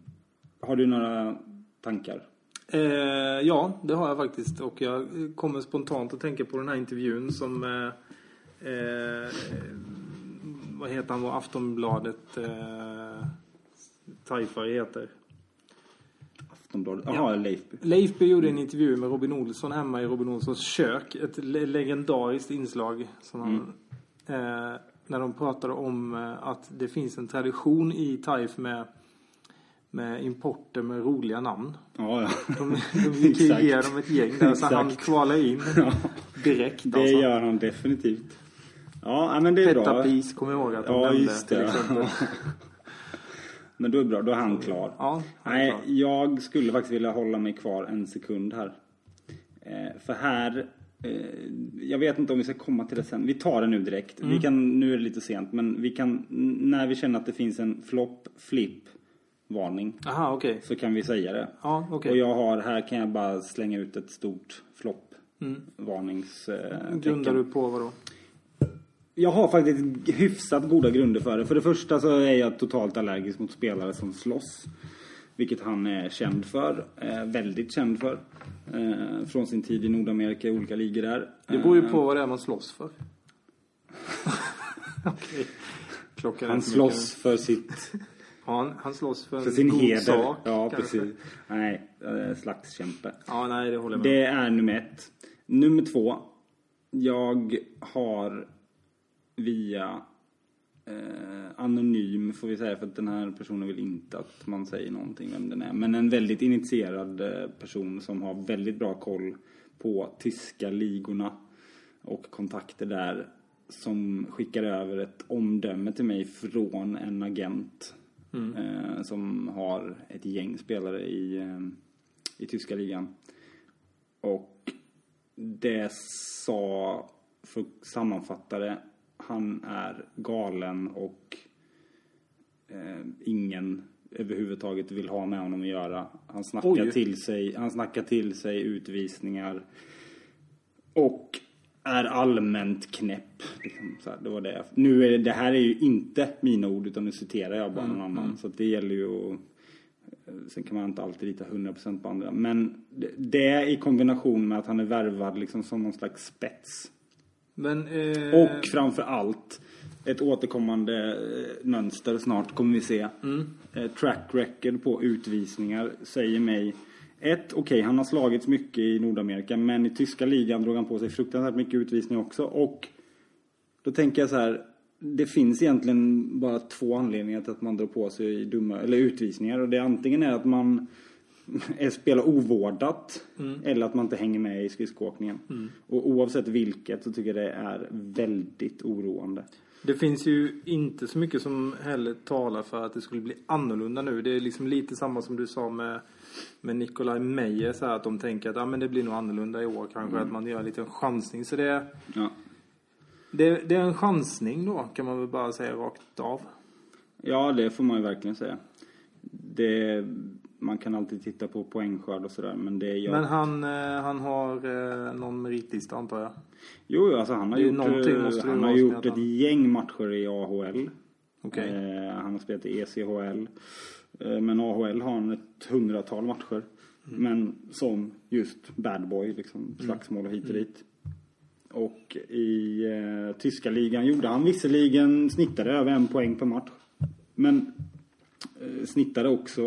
har du några tankar?
Eh, ja, det har jag faktiskt. Och jag eh, kommer spontant att tänka på den här intervjun som... Eh, eh, vad heter han? Vad Aftonbladet... Eh, Taifari heter.
Aftonbladet? Jaha, Leifby.
Leifby gjorde en intervju med Robin Olsson hemma i Robin Olssons kök. Ett le- legendariskt inslag som han, eh, när de pratade om eh, att det finns en tradition i Taif med, med importer med roliga namn.
Ja, ja. [laughs]
De, de gick ju
Exakt.
igenom ett gäng där så han
Exakt.
kvalade in direkt
Det
alltså.
gör han definitivt. Ja, nej, men det är bra.
Pettapis kommer jag ihåg att de
Ja,
nämnde
just
till
det. [laughs]
exempel.
Men då är det bra, då är han klar.
Ja, han är
Nej,
klar.
jag skulle faktiskt vilja hålla mig kvar en sekund här. Eh, för här, eh, jag vet inte om vi ska komma till det sen. Vi tar det nu direkt.
Mm.
Vi kan, nu är det lite sent, men vi kan, n- när vi känner att det finns en flopp, flipp, varning.
Aha, okej.
Så kan vi säga det.
Ja, okej.
Och jag har, här kan jag bara slänga ut ett stort flopp, eh, varningstecken.
Mm. Grundar du på vad då?
Jag har faktiskt hyfsat goda grunder för det. För det första så är jag totalt allergisk mot spelare som slåss. Vilket han är känd för. Eh, väldigt känd för. Eh, från sin tid i Nordamerika i olika ligor där. Eh,
Det beror ju på vad det är man slåss
[laughs]
för. Okej. Klockan
Eh,
är
han
inte mycket nu.
slåss för, sitt,
Ja, han, han slåss för,
för
en
sin
god
heder.
sak.
ja,
kanske.
precis. Nej, eh, slagskämpe.
Ja, nej, det håller jag med om.
Det är nummer ett. Nummer två. Jag har via eh, anonym, får vi säga, för att den här personen vill inte att man säger någonting vem den är. Men en väldigt initierad eh, person som har väldigt bra koll på tyska ligorna och kontakter där. Som skickar över ett omdöme till mig från en agent.
Mm.
Eh, som har ett gäng spelare i, eh, i tyska ligan. Och det sa, för att sammanfatta det, han är galen och eh, ingen överhuvudtaget vill ha med honom att göra. Han snackar,
Oj.
till sig, han snackar till sig utvisningar och är allmänt knäpp. Liksom, så här, det var det. jag- Nu är det, det här är ju inte mina ord utan nu citerar jag bara någon annan. Så att det gäller ju att Eh, Sen kan man inte alltid lita 100% på andra. Men det- det i kombination med att han är värvad liksom som någon slags spets.
Men, eh,
Och framför allt ett återkommande eh, mönster snart kommer vi se. Eh, Track record på utvisningar säger mig ett, okej han har slagits mycket i Nordamerika men i tyska ligan drog han på sig fruktansvärt mycket utvisning också. Och då tänker jag så här. Det finns egentligen bara två anledningar till att man drar på sig dumma, eller utvisningar. Och det är antingen är att man [laughs] är, spelar ovårdat eller att man inte hänger med i skridskoåkningen. Och oavsett vilket så tycker jag det är väldigt oroande.
det finns ju inte så mycket som heller talar för att det skulle bli annorlunda nu. Det är liksom lite samma som du sa med, med Nikolaj Meyer. Så här, att de tänker att ah, men det blir nog annorlunda i år kanske. Att man gör en liten chansning. Så det,
Ja.
det, det är en chansning då kan man väl bara säga rakt av.
ja, det får man ju verkligen säga. Det, man kan alltid titta på poängskörd och sådär men det är jag...
Men han, eh, han har eh, någon meritlista antar jag.
Jo, jo, alltså han har
Det är
gjort,
någonting måste
eh,
det
han
vara
har
som
gjort
heter
ett gäng matcher i AHL.
Okej.
Eh, han har spelat i ECHL. Eh, men AHL har han ett hundratal matcher.
Mm.
Men som just bad boy, liksom slagsmål och hit
Mm.
och dit. Och i eh, tyska ligan gjorde han visserligen, snittade över en poäng per match. Men eh, snittade också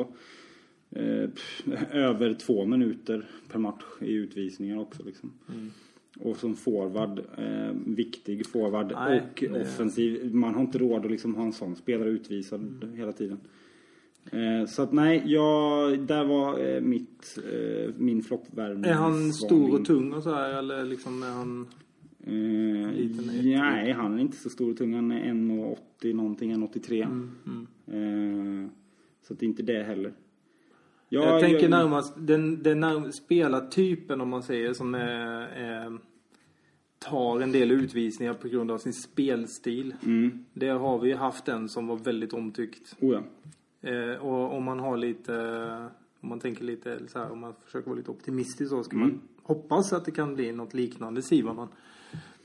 eh, pff, över två minuter per match i utvisningar också. Liksom.
Mm.
Och som forward, eh, viktig forward
Nej,
och
det-
offensiv. Man har inte råd att liksom ha en sån spelare utvisad
Mm.
hela tiden. Eh, så att nej, jag, där var eh, mitt, eh, min floppvärmning.
Är han stor och tung och så här eller liksom är han...
Eh,
Liten ett-
nej, han är inte så stor och tung. Han är 1,80 någonting, 1,83.
Mm,
Eh, så att det är inte det heller.
Jag, tänker närmast den, den närm- spelartypen om man säger som eh, eh, tar en del utvisningar på grund av sin spelstil.
Mm,
Det har vi ju haft en som var väldigt omtyckt.
oh ja.
Eh, och om man har lite, om man tänker lite så här, om man försöker vara lite optimistisk så ska
Mm.
man hoppas att det kan bli något liknande Sivaman.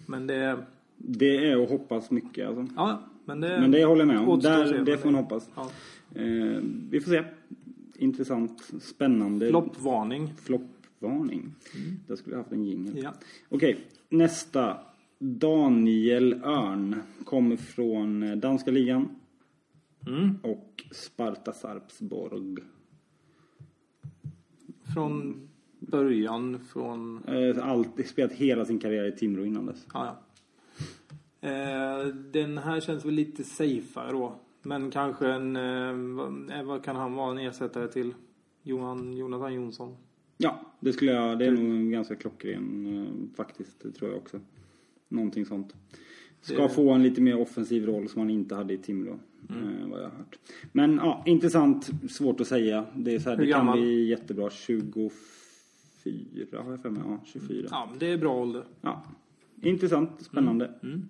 Men det,
Det är att hoppas mycket alltså.
ja, men det,
Men det håller jag med om.
Eh, återstår att se,
Där, det
men
får man hoppas.
Ja.
Eh, vi får se. Intressant, spännande.
Floppvarning.
Floppvarning. Där skulle jag haft en jingel.
Mm. Ja.
Okej, nästa. Daniel Örn kommer från eh, danska ligan
Mm.
och Sparta Sarpsborg.
Från början, från...
Eh, Alltid spelat hela sin karriär i Timrå innan dess.
Ja, ja. Eh, Den här känns väl lite safeare då. Men kanske en... eh, vad- eh, Vad kan han vara en ersättare till? Johan, Jonathan Jonsson.
Ja, det skulle jag. Det är
Mm.
nog en ganska klockren eh, faktiskt, det tror jag också. Någonting sånt. Ska
Det-
få en lite mer offensiv roll som han inte hade i Timrå.
Mm.
eh, Vad jag har hört. Men ja, intressant. Svårt att säga. Det, är så här,
Hur
det kan
gammal?
bli jättebra. 24 har jag för mig. Ja, 24. Ja.
Ja, men det är bra ålder.
Intressant. Spännande.
Mm.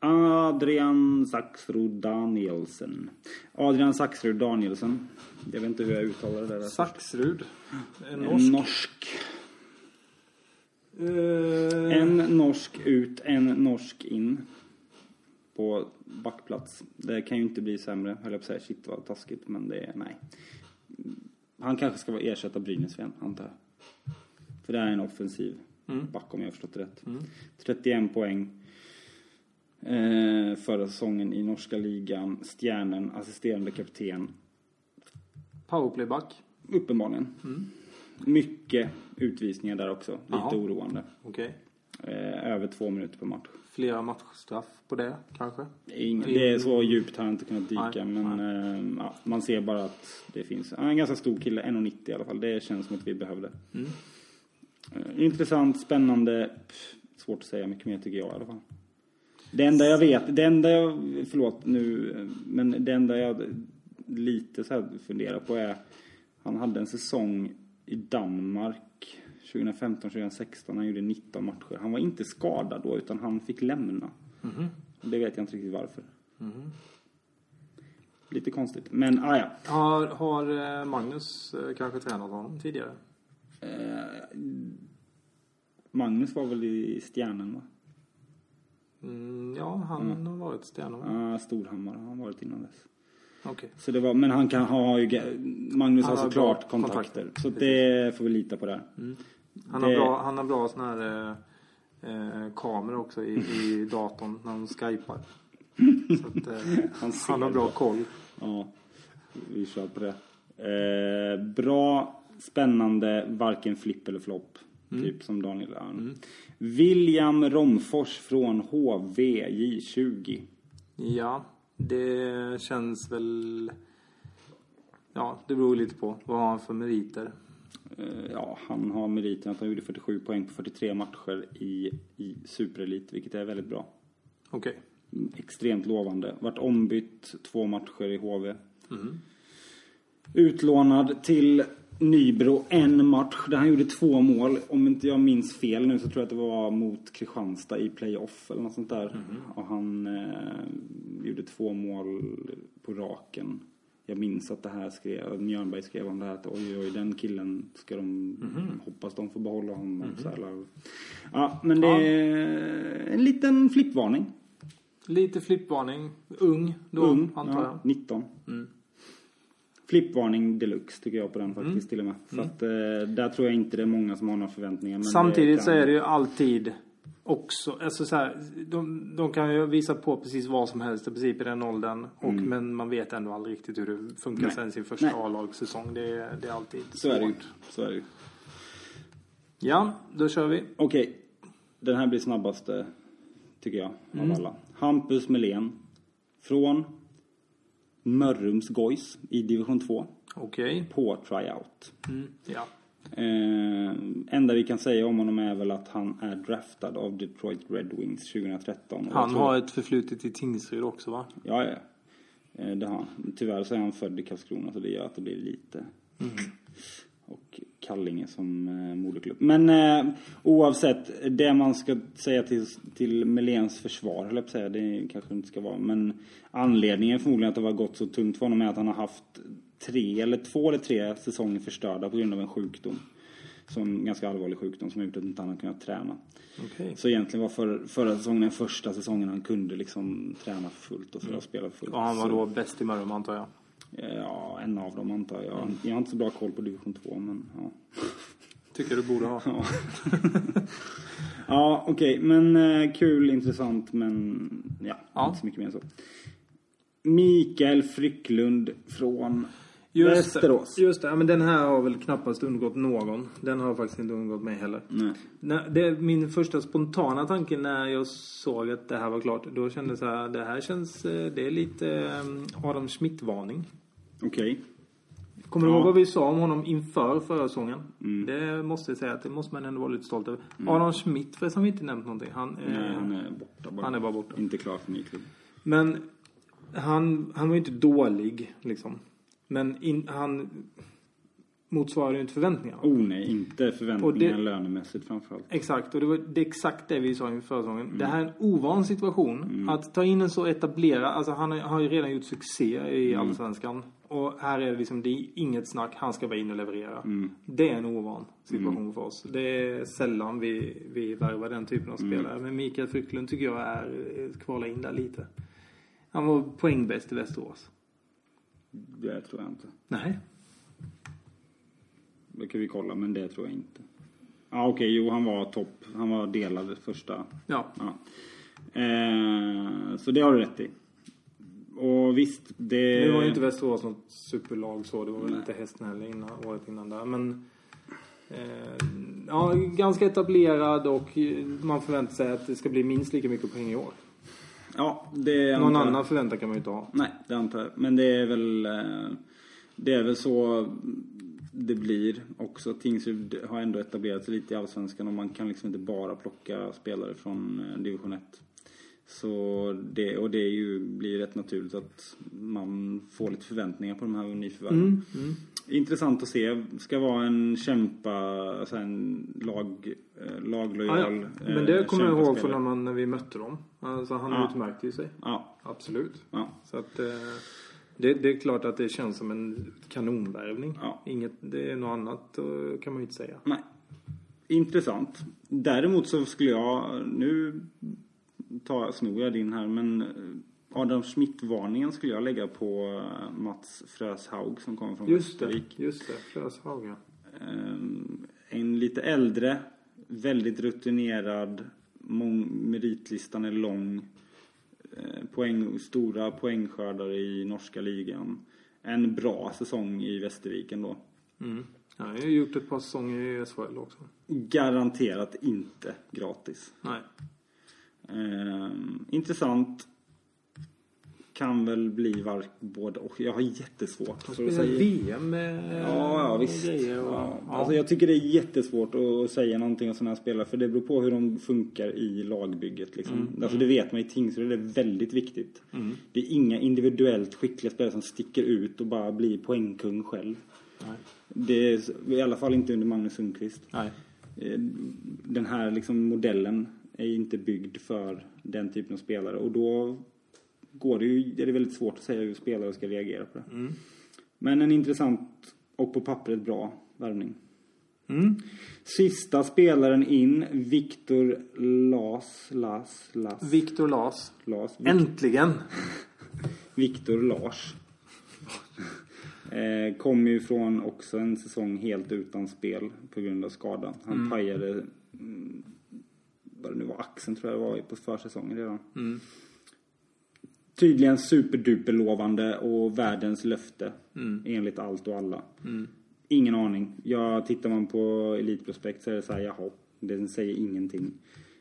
Adrian Saxrud Danielsen. Adrian Saxrud Danielsen. Jag vet inte hur jag uttalar det där.
Saxrud. En
En
norsk.
norsk.
Eh,
En norsk ut, en norsk in. På backplats. Det kan ju inte bli sämre, höll jag på att säga. Shit vad taskigt, men det är, nej. Han kanske ska vara ersätta Brynäs igen, antar jag. För det här är en offensiv back om jag har förstått det rätt. 31 poäng. Eh, förra säsongen i norska ligan. Stjärnen, assisterande kapten.
Powerplayback.
Uppenbarligen. Mycket utvisningar där också. Lite
Jaha.
oroande.
Okej.
Eh, över två minuter per match.
Flera matchstraff på det, kanske.
Ing- Det är så djupt har jag inte kunnat dyka
Nej,
men eh, ja, man ser bara att det finns. Han är en ganska stor kille, 1,90 i alla fall. Det känns som att vi behövde.
Mm.
Eh, Intressant, spännande. Pff, svårt att säga mycket mer tycker jag i alla fall. Det enda jag vet, det enda jag, förlåt nu, eh, men det enda jag lite så här funderar på är. Han hade en säsong i Danmark 2015-2016 han gjorde 19 matcher. Han var inte skadad då utan han fick lämna.
Mhm.
Och Det vet jag inte riktigt varför. Lite konstigt. Men ah, ja.
Har, har eh, Magnus eh, kanske tränat honom tidigare?
Magnus var väl i Stjärnan va?
Mm, ja, han har varit stenhård.
Ah, Storhammar har han varit innan dess.
Okej.
Så det var, men han kan ha ju, Magnus
Han
har
har
såklart
bra Mm.
kontakter. Så det får vi lita på där.
Han,
Det-
har bra, han har bra sån här eh, eh, kamera också i, i datorn när de skypar. Så att,
[laughs]
eh,
Han
han,
ser
har bra
bra.
koll.
Ja, vi kör på det. Eh, bra, spännande, varken flipp eller flopp.
Mm.
Typ som Daniel Örn. William Romfors från HVJ20.
Ja, det känns väl... Ja, det beror lite på vad har han för meriter.
Eh, Ja, han har meriten att han gjorde 47 poäng på 43 matcher i, i superelit, vilket är väldigt bra.
Okej.
Mm, Extremt lovande. Vart ombytt två matcher i HV. Utlånad till Nybro en match där han gjorde två mål. Om inte jag minns fel nu så tror jag att det var mot Kristianstad i playoff eller något sånt där. Och han eh, gjorde två mål på raken. Jag minns att det här skrev, Mjörnberg skrev om det här att oj oj den killen ska de, hoppas de får behålla honom. Så här, eller- ja men det är en liten flippvarning.
Lite flippvarning. Ung då,
Ung,
antar
ja,
jag. Mm.
19. Flippvarning deluxe tycker jag på den faktiskt
Mm.
till och med. Så att eh, där tror jag inte det är många som har några förväntningar. Men
Samtidigt
kan-
så är det ju alltid också, alltså så här, de, de kan ju visa på precis vad som helst i princip i den åldern. Och, Men man vet ändå aldrig riktigt hur det funkar
Mm. Nej.
sen sin första
Nej.
A-lagssäsong. Det, är- det är alltid
Så är det ju.
svårt.
Så är det ju.
Ja, då kör vi.
Okej. Den här blir snabbaste, tycker jag,
Mm.
av alla. Hampus Melén. Från Mörrums Gois i division 2.
Okej.
På tryout.
Mm. Ja.
Eh, enda vi kan säga om honom är väl att han är draftad av Detroit Red Wings 2013. Och jag
Han
tror-
har ett förflutet i Tingsryd också va?
Ja, ja. Eh, Det har han. Tyvärr så är han född i Karlskrona så det gör att det blir lite. Och Kallinge som eh, moderklubb. Men eh, oavsett, det man ska säga till, till Melens försvar, höll jag på att säga, det kanske inte ska vara. Men anledningen förmodligen att det har gått så tungt för honom är att han har haft tre, eller två eller tre säsonger förstörda på grund av en sjukdom. Som, ganska allvarlig sjukdom som har gjort att inte han har kunnat träna.
Okej.
Så egentligen var för, förra säsongen den första säsongen han kunde liksom träna fullt och sådär och spela fullt.
Och Mm. han var
Så- eh,
då bäst i Mörrum antar jag.
Ja, en av dem antar jag.
Mm.
Jag har inte så bra koll på division 2 men ja.
Tycker du borde ha.
Ja, ja okej. Men eh, kul, intressant men ja,
Ja.
inte så mycket mer än så. Mikael Frycklund från Västerås.
Det, just det, ja, men den här har väl knappast undgått någon. Den har faktiskt inte undgått mig heller.
Nej.
Nej, det är min första spontana tanke när jag såg att det här var klart. Då kände jag så här, det här känns, eh, det är lite eh, Adam Schmidt-varning.
Okej.
Kommer du
Ja. Mm.
ihåg vad vi sa om honom inför förra säsongen? Det måste jag säga att det måste man ändå vara lite stolt över. Adam Schmidt, för som vi inte nämnt någonting. Han,
Nej,
eh,
han är borta bara.
han är bara borta.
Inte klar för ny klubb.
Men han, han var ju inte dålig liksom. Men in, han motsvarade ju inte förväntningarna.
Oh nej, inte förväntningarna
Och det-
lönemässigt framförallt.
Exakt, och det var det är exakt det vi sa inför förra säsongen. Det här är en ovan situation. Att ta in en så etablerad, alltså han har- har ju redan gjort succé i Allsvenskan. Och här är det liksom, det är inget snack, han ska vara in och leverera. Det är en ovan situation för oss. Det är sällan vi, vi värvar den typen av spelare. Men Mikael Frycklund tycker jag är, kvala in där lite. Han var poängbäst i Västerås.
Det tror jag inte.
Nej.
Det kan vi kolla, men det tror jag inte. Ja, okej, jo han var topp. Han var delad första.
Ja.
Ja. Eh, så det har du rätt i. Och visst, det...
Nu var ju inte Västerås något superlag så. Det var väl lite hästnälla innan, året innan där. Men... Eh, ja, ganska etablerad och eh, man förväntar sig att det ska bli minst lika mycket poäng i år.
Ja, det
Någon
antar jag.
annan förväntan kan man ju inte ha.
Nej, det antar jag. Men det är väl... eh, Det är väl så det blir också. Tingsryd har ändå etablerat sig lite i Allsvenskan och man kan liksom inte bara plocka spelare från eh, division 1. Så det, och det är ju, blir rätt naturligt att man får lite förväntningar på de här nyförvärven.
Mm.
Intressant att se. Ska vara en kämpa, alltså en lag, eh,
Ja, ja.
laglojal
Men det
eh,
kommer jag ihåg från
kämpaspelare.
när, man, när vi mötte dem. Alltså han
Ja.
utmärkte ju sig.
Ja,
Absolut.
ja.
Så att... Eh, det, det är klart att det känns som en kanonvärvning.
Ja.
Inget, det är något annat eh, kan man ju inte säga.
Nej. Intressant. Däremot så skulle jag, nu tar, snor jag din här, men eh, Adam Schmidt-varningen skulle jag lägga på eh, Mats Fröshaug som kommer från
Just det,
Västervik.
just det. Flöshaga.
Ehm, En lite äldre, väldigt rutinerad, mång, meritlistan är lång. eh, Poäng, stora poängskördare i norska ligan. En bra säsong i Västervik ändå.
Mm. Ja, jag har ju gjort ett par säsonger i SHL också.
Garanterat inte gratis.
Nej.
Ehm, intressant. Kan väl bli vark, både och. Jag har jättesvårt för att
Spelar
säga.
VM med
Ja, ja visst.
grejer eh, och,
ja.
ja.
Alltså, jag tycker det är jättesvårt att säga någonting om sådana här spelare. För det beror på hur de funkar i lagbygget. Liksom.
Mm.
Alltså, det vet man i Tingsryd, det är väldigt viktigt. Det är inga individuellt skickliga spelare som sticker ut och bara blir poängkung själv.
Nej.
Det är i alla fall inte under Magnus Sundqvist.
Nej.
Eh, den här liksom modellen är ju inte byggd för den typen av spelare och då går det ju, är det väldigt svårt att säga hur spelare ska reagera på det. Men en intressant och på pappret bra värvning.
Mm.
Sista spelaren in, Viktor Las, Las, Las,
Viktor Las.
Las,
Äntligen!
Viktor Lars. [laughs] Eh, kom ju från också en säsong helt utan spel på grund av skada. Han pajade, mm, vad det nu var, axeln tror jag det var på försäsongen redan. Tydligen superduperlovande och världens löfte. Enligt allt och alla. Ingen aning. Ja, tittar man på Elitprospekt så är det så här, jaha. Den säger ingenting.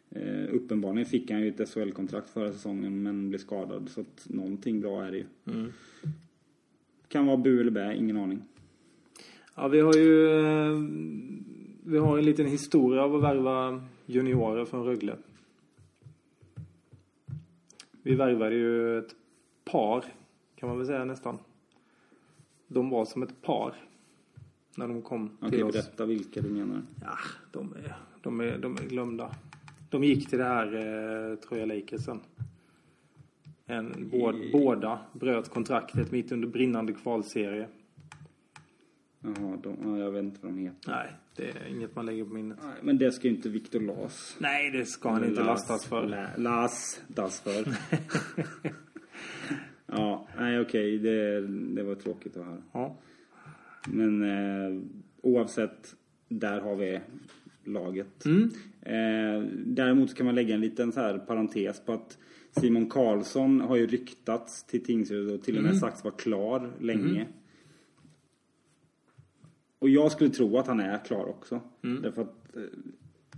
Eh, uppenbarligen fick han ju ett SHL-kontrakt förra säsongen men blev skadad. Så att någonting bra är det ju.
Mm.
Kan vara bu eller bä, ingen aning.
Ja, vi har ju... eh, Vi har en liten historia av att värva juniorer från Rögle. Vi värvade ju ett par, kan man väl säga nästan. De var som ett par. När de kom
Man
till
kan
oss.
berätta vilka du menar.
Ja, de är, de är, de är glömda. De gick till det här eh, Troja Lakers sen. En, båd, Båda bröt kontraktet mitt under brinnande kvalserie.
Jaha, de, ja, jag vet inte vad de heter.
Nej, det är inget man lägger på minnet.
Nej, men det ska ju inte Viktor Las.
Nej, det ska han inte
Las-
lastas för.
Lä- Las, das för.
[laughs]
[laughs] ja, nej okej, det, det var tråkigt att höra.
Ja.
Men eh, oavsett, där har vi laget. Eh, däremot så kan man lägga en liten så här parentes på att Simon Karlsson har ju ryktats till Tingsryd och till och med sagts vara klar länge. Och jag skulle tro att han är klar också. Därför att eh,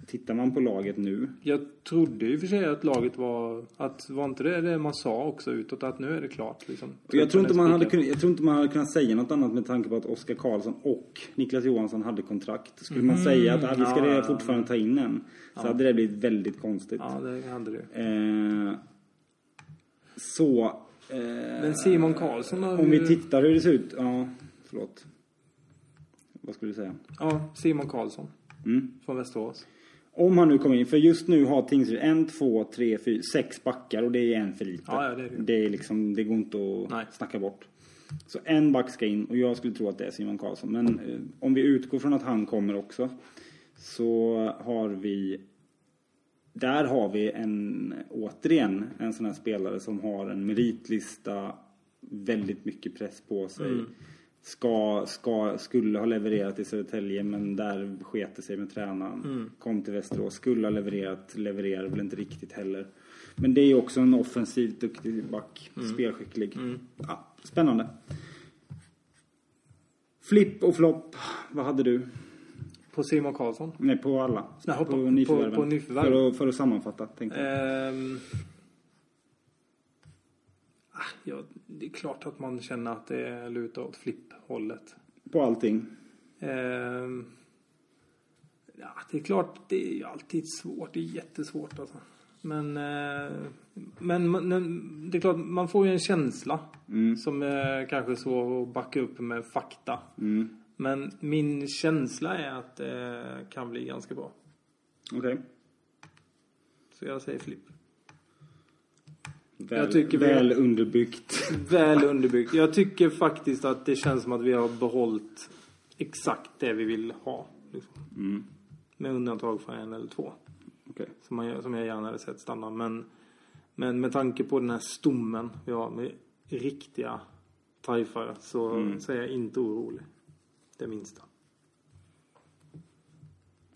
tittar man på laget nu.
Jag trodde ju för sig att laget var... Att var inte det det man sa också utåt? Att nu är det klart liksom.
Och jag, tror inte man hade
Spikat.
kunnat, jag tror inte man hade kunnat säga något annat med tanke på att Oskar Karlsson och Niklas Johansson hade kontrakt. Skulle man säga att ah, vi ska
Mm. ja, ja,
fortfarande ta in en. Så hade det blivit väldigt konstigt.
Ja, det hände det.
Eh, så. Eh,
Men Simon Karlsson har
Om
ju-
vi tittar hur det ser ut. Ja, förlåt. Vad skulle du säga?
Ja, Simon Karlsson.
Mm.
Från Västerås.
Om han nu kommer in, för just nu har Tingsryd en, två, tre, fyra, sex backar och det är en för lite.
Ja, ja, det är det ju.
det, är liksom, det går inte att
Nej.
snacka bort. Så en back ska in och jag skulle tro att det är Simon Karlsson. Men eh, om vi utgår från att han kommer också. Så har vi... Där har vi en, återigen en sån här spelare som har en meritlista, väldigt mycket press på sig. Ska, ska, skulle ha levererat i Södertälje men där sket det sig med tränaren. Kom till Västerås, skulle ha levererat, levererar väl inte riktigt heller. Men det är ju också en offensivt duktig back, spelskicklig. Ja, spännande. Flipp och flopp, vad hade du?
På Simon Karlsson.
Nej, på alla.
Nej,
på
hoppa- på-
nyförvärven.
på nyförvärv.
För, att, för att sammanfatta, tänkte jag.
Ehm, ah, ja, det är klart att man känner att det lutar åt flipphållet.
På allting.
Ehm, ja, det är klart, det är ju alltid svårt. Det är jättesvårt alltså. Men, eh, men, man- men det är klart, man får ju en känsla som är kanske så att backa upp med fakta. Men min känsla är att det kan bli ganska bra.
Okej.
Så jag säger flipp.
Väl,
Jag tycker vi-
väl underbyggt.
Väl underbyggt. Jag tycker faktiskt att det känns som att vi har behållit exakt det vi vill ha. Liksom.
Mm.
Med undantag för en eller två.
Okej.
Som, man, som jag gärna hade sett stanna. Men, men med tanke på den här stommen vi har med riktiga tajfare så,
Mm.
så är jag inte orolig. Det minsta.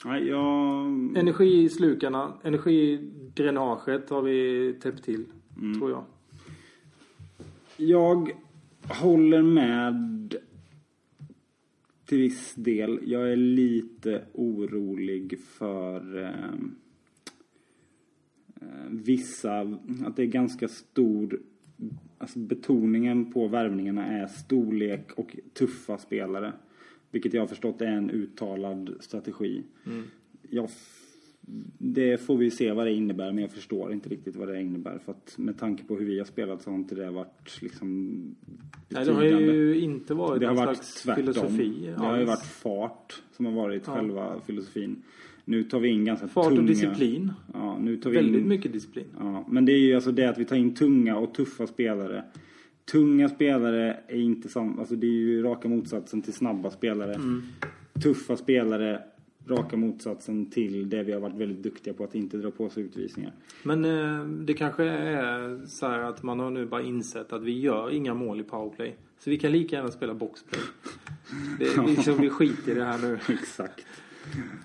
Nej, jag...
Energislukarna, energidränaget har vi täppt till.
Mm.
Tror jag.
Jag håller med till viss del. Jag är lite orolig för eh, eh, vissa, att det är ganska stor, alltså betoningen på värvningarna är storlek och tuffa spelare. Vilket jag har förstått är en uttalad strategi.
Mm.
Jag det får vi se vad det innebär men jag förstår inte riktigt vad det innebär för att med tanke på hur vi har spelat så har inte det varit liksom
Nej, det har ju inte varit
det har
någon
varit
slags
tvärtom.
filosofi.
det har ju
alls.
varit fart som har varit själva filosofin. Nu tar vi in ganska
Fart och
tunga...
disciplin.
Ja, nu tar vi
Väldigt
in...
mycket disciplin.
Ja, men det är ju alltså det att vi tar in tunga och tuffa spelare. Tunga spelare är inte samma, alltså det är ju raka motsatsen till snabba spelare.
Mm.
Tuffa spelare, raka motsatsen till det vi har varit väldigt duktiga på att inte dra på sig utvisningar.
Men eh, det kanske är så här att man har nu bara insett att vi gör inga mål i powerplay. Så vi kan lika gärna spela boxplay. Det är liksom, vi skiter i det här nu.
[laughs] Exakt.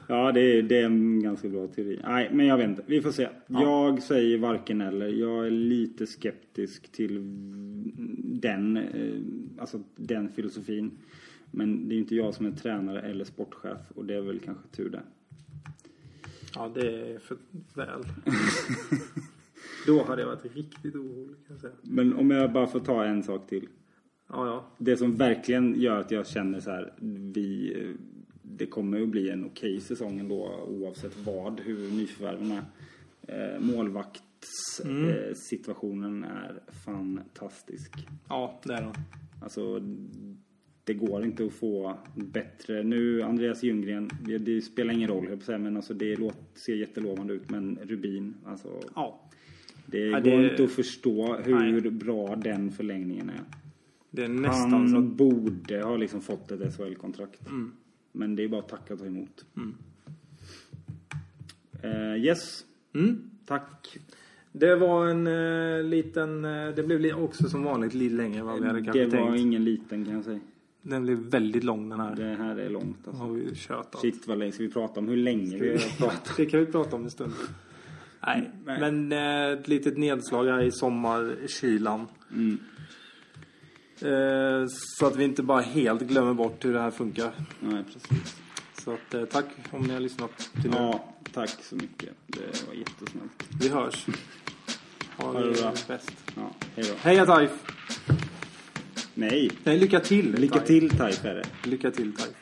Ja, det är, det är en ganska bra teori. Nej, men jag vet inte. Vi får se. Jag säger varken eller. Jag är lite skeptisk till den, eh, alltså den filosofin. Men det är ju inte jag som är tränare eller sportchef och det är väl kanske tur det.
Ja, det är för
[laughs]
väl. Då hade jag varit riktigt orolig kan jag säga.
Men om jag bara får ta en sak till.
Ja, ja.
Det som verkligen gör att jag känner så här, vi, eh, det kommer att bli en okej säsong ändå oavsett vad, hur nyförvärven är. Eh, målvaktssituationen eh,
Mm.
situationen är fantastisk.
Ja, det är den.
Alltså, det går inte att få bättre. Nu, Andreas Ljunggren, det, det spelar ingen roll, höll jag på att säga, men alltså, det låt, ser jättelovande ut. Men Rubin, alltså,
Ja.
det
Ja,
går
det-
inte att förstå hur
Nej.
bra den förlängningen är.
Det är nästan
Han
så Mm. att...
borde ha liksom fått ett SHL-kontrakt. Men det är bara att tacka och ta emot. Eh, yes,
Mm.
tack.
Det var en eh, liten... Eh, det blev li- också som vanligt lite längre än vad vi hade kanske
Eh, Det var
tänkt.
ingen liten kan jag säga.
Den blev väldigt lång den här.
Det här är långt alltså.
Har vi tjötat.
Shit vad länge, ska vi prata om hur länge vi har pratat?
Det kan vi prata om en stund. Nej,
Mm.
men eh, ett litet nedslag här i sommarkylan. Eh, så att vi inte bara helt glömmer bort hur det här funkar.
[laughs] Nej, precis.
Så att, eh, tack om ni har lyssnat till nu.
Ja, tack så mycket. Det var jättesnällt.
Vi hörs. Ha
det bra.
det bäst.
Ja, hej då.
Heja Taif!
Nej,
Nej, lycka till!
lycka
Taif.
till Taif är det.
Lycka till Taif.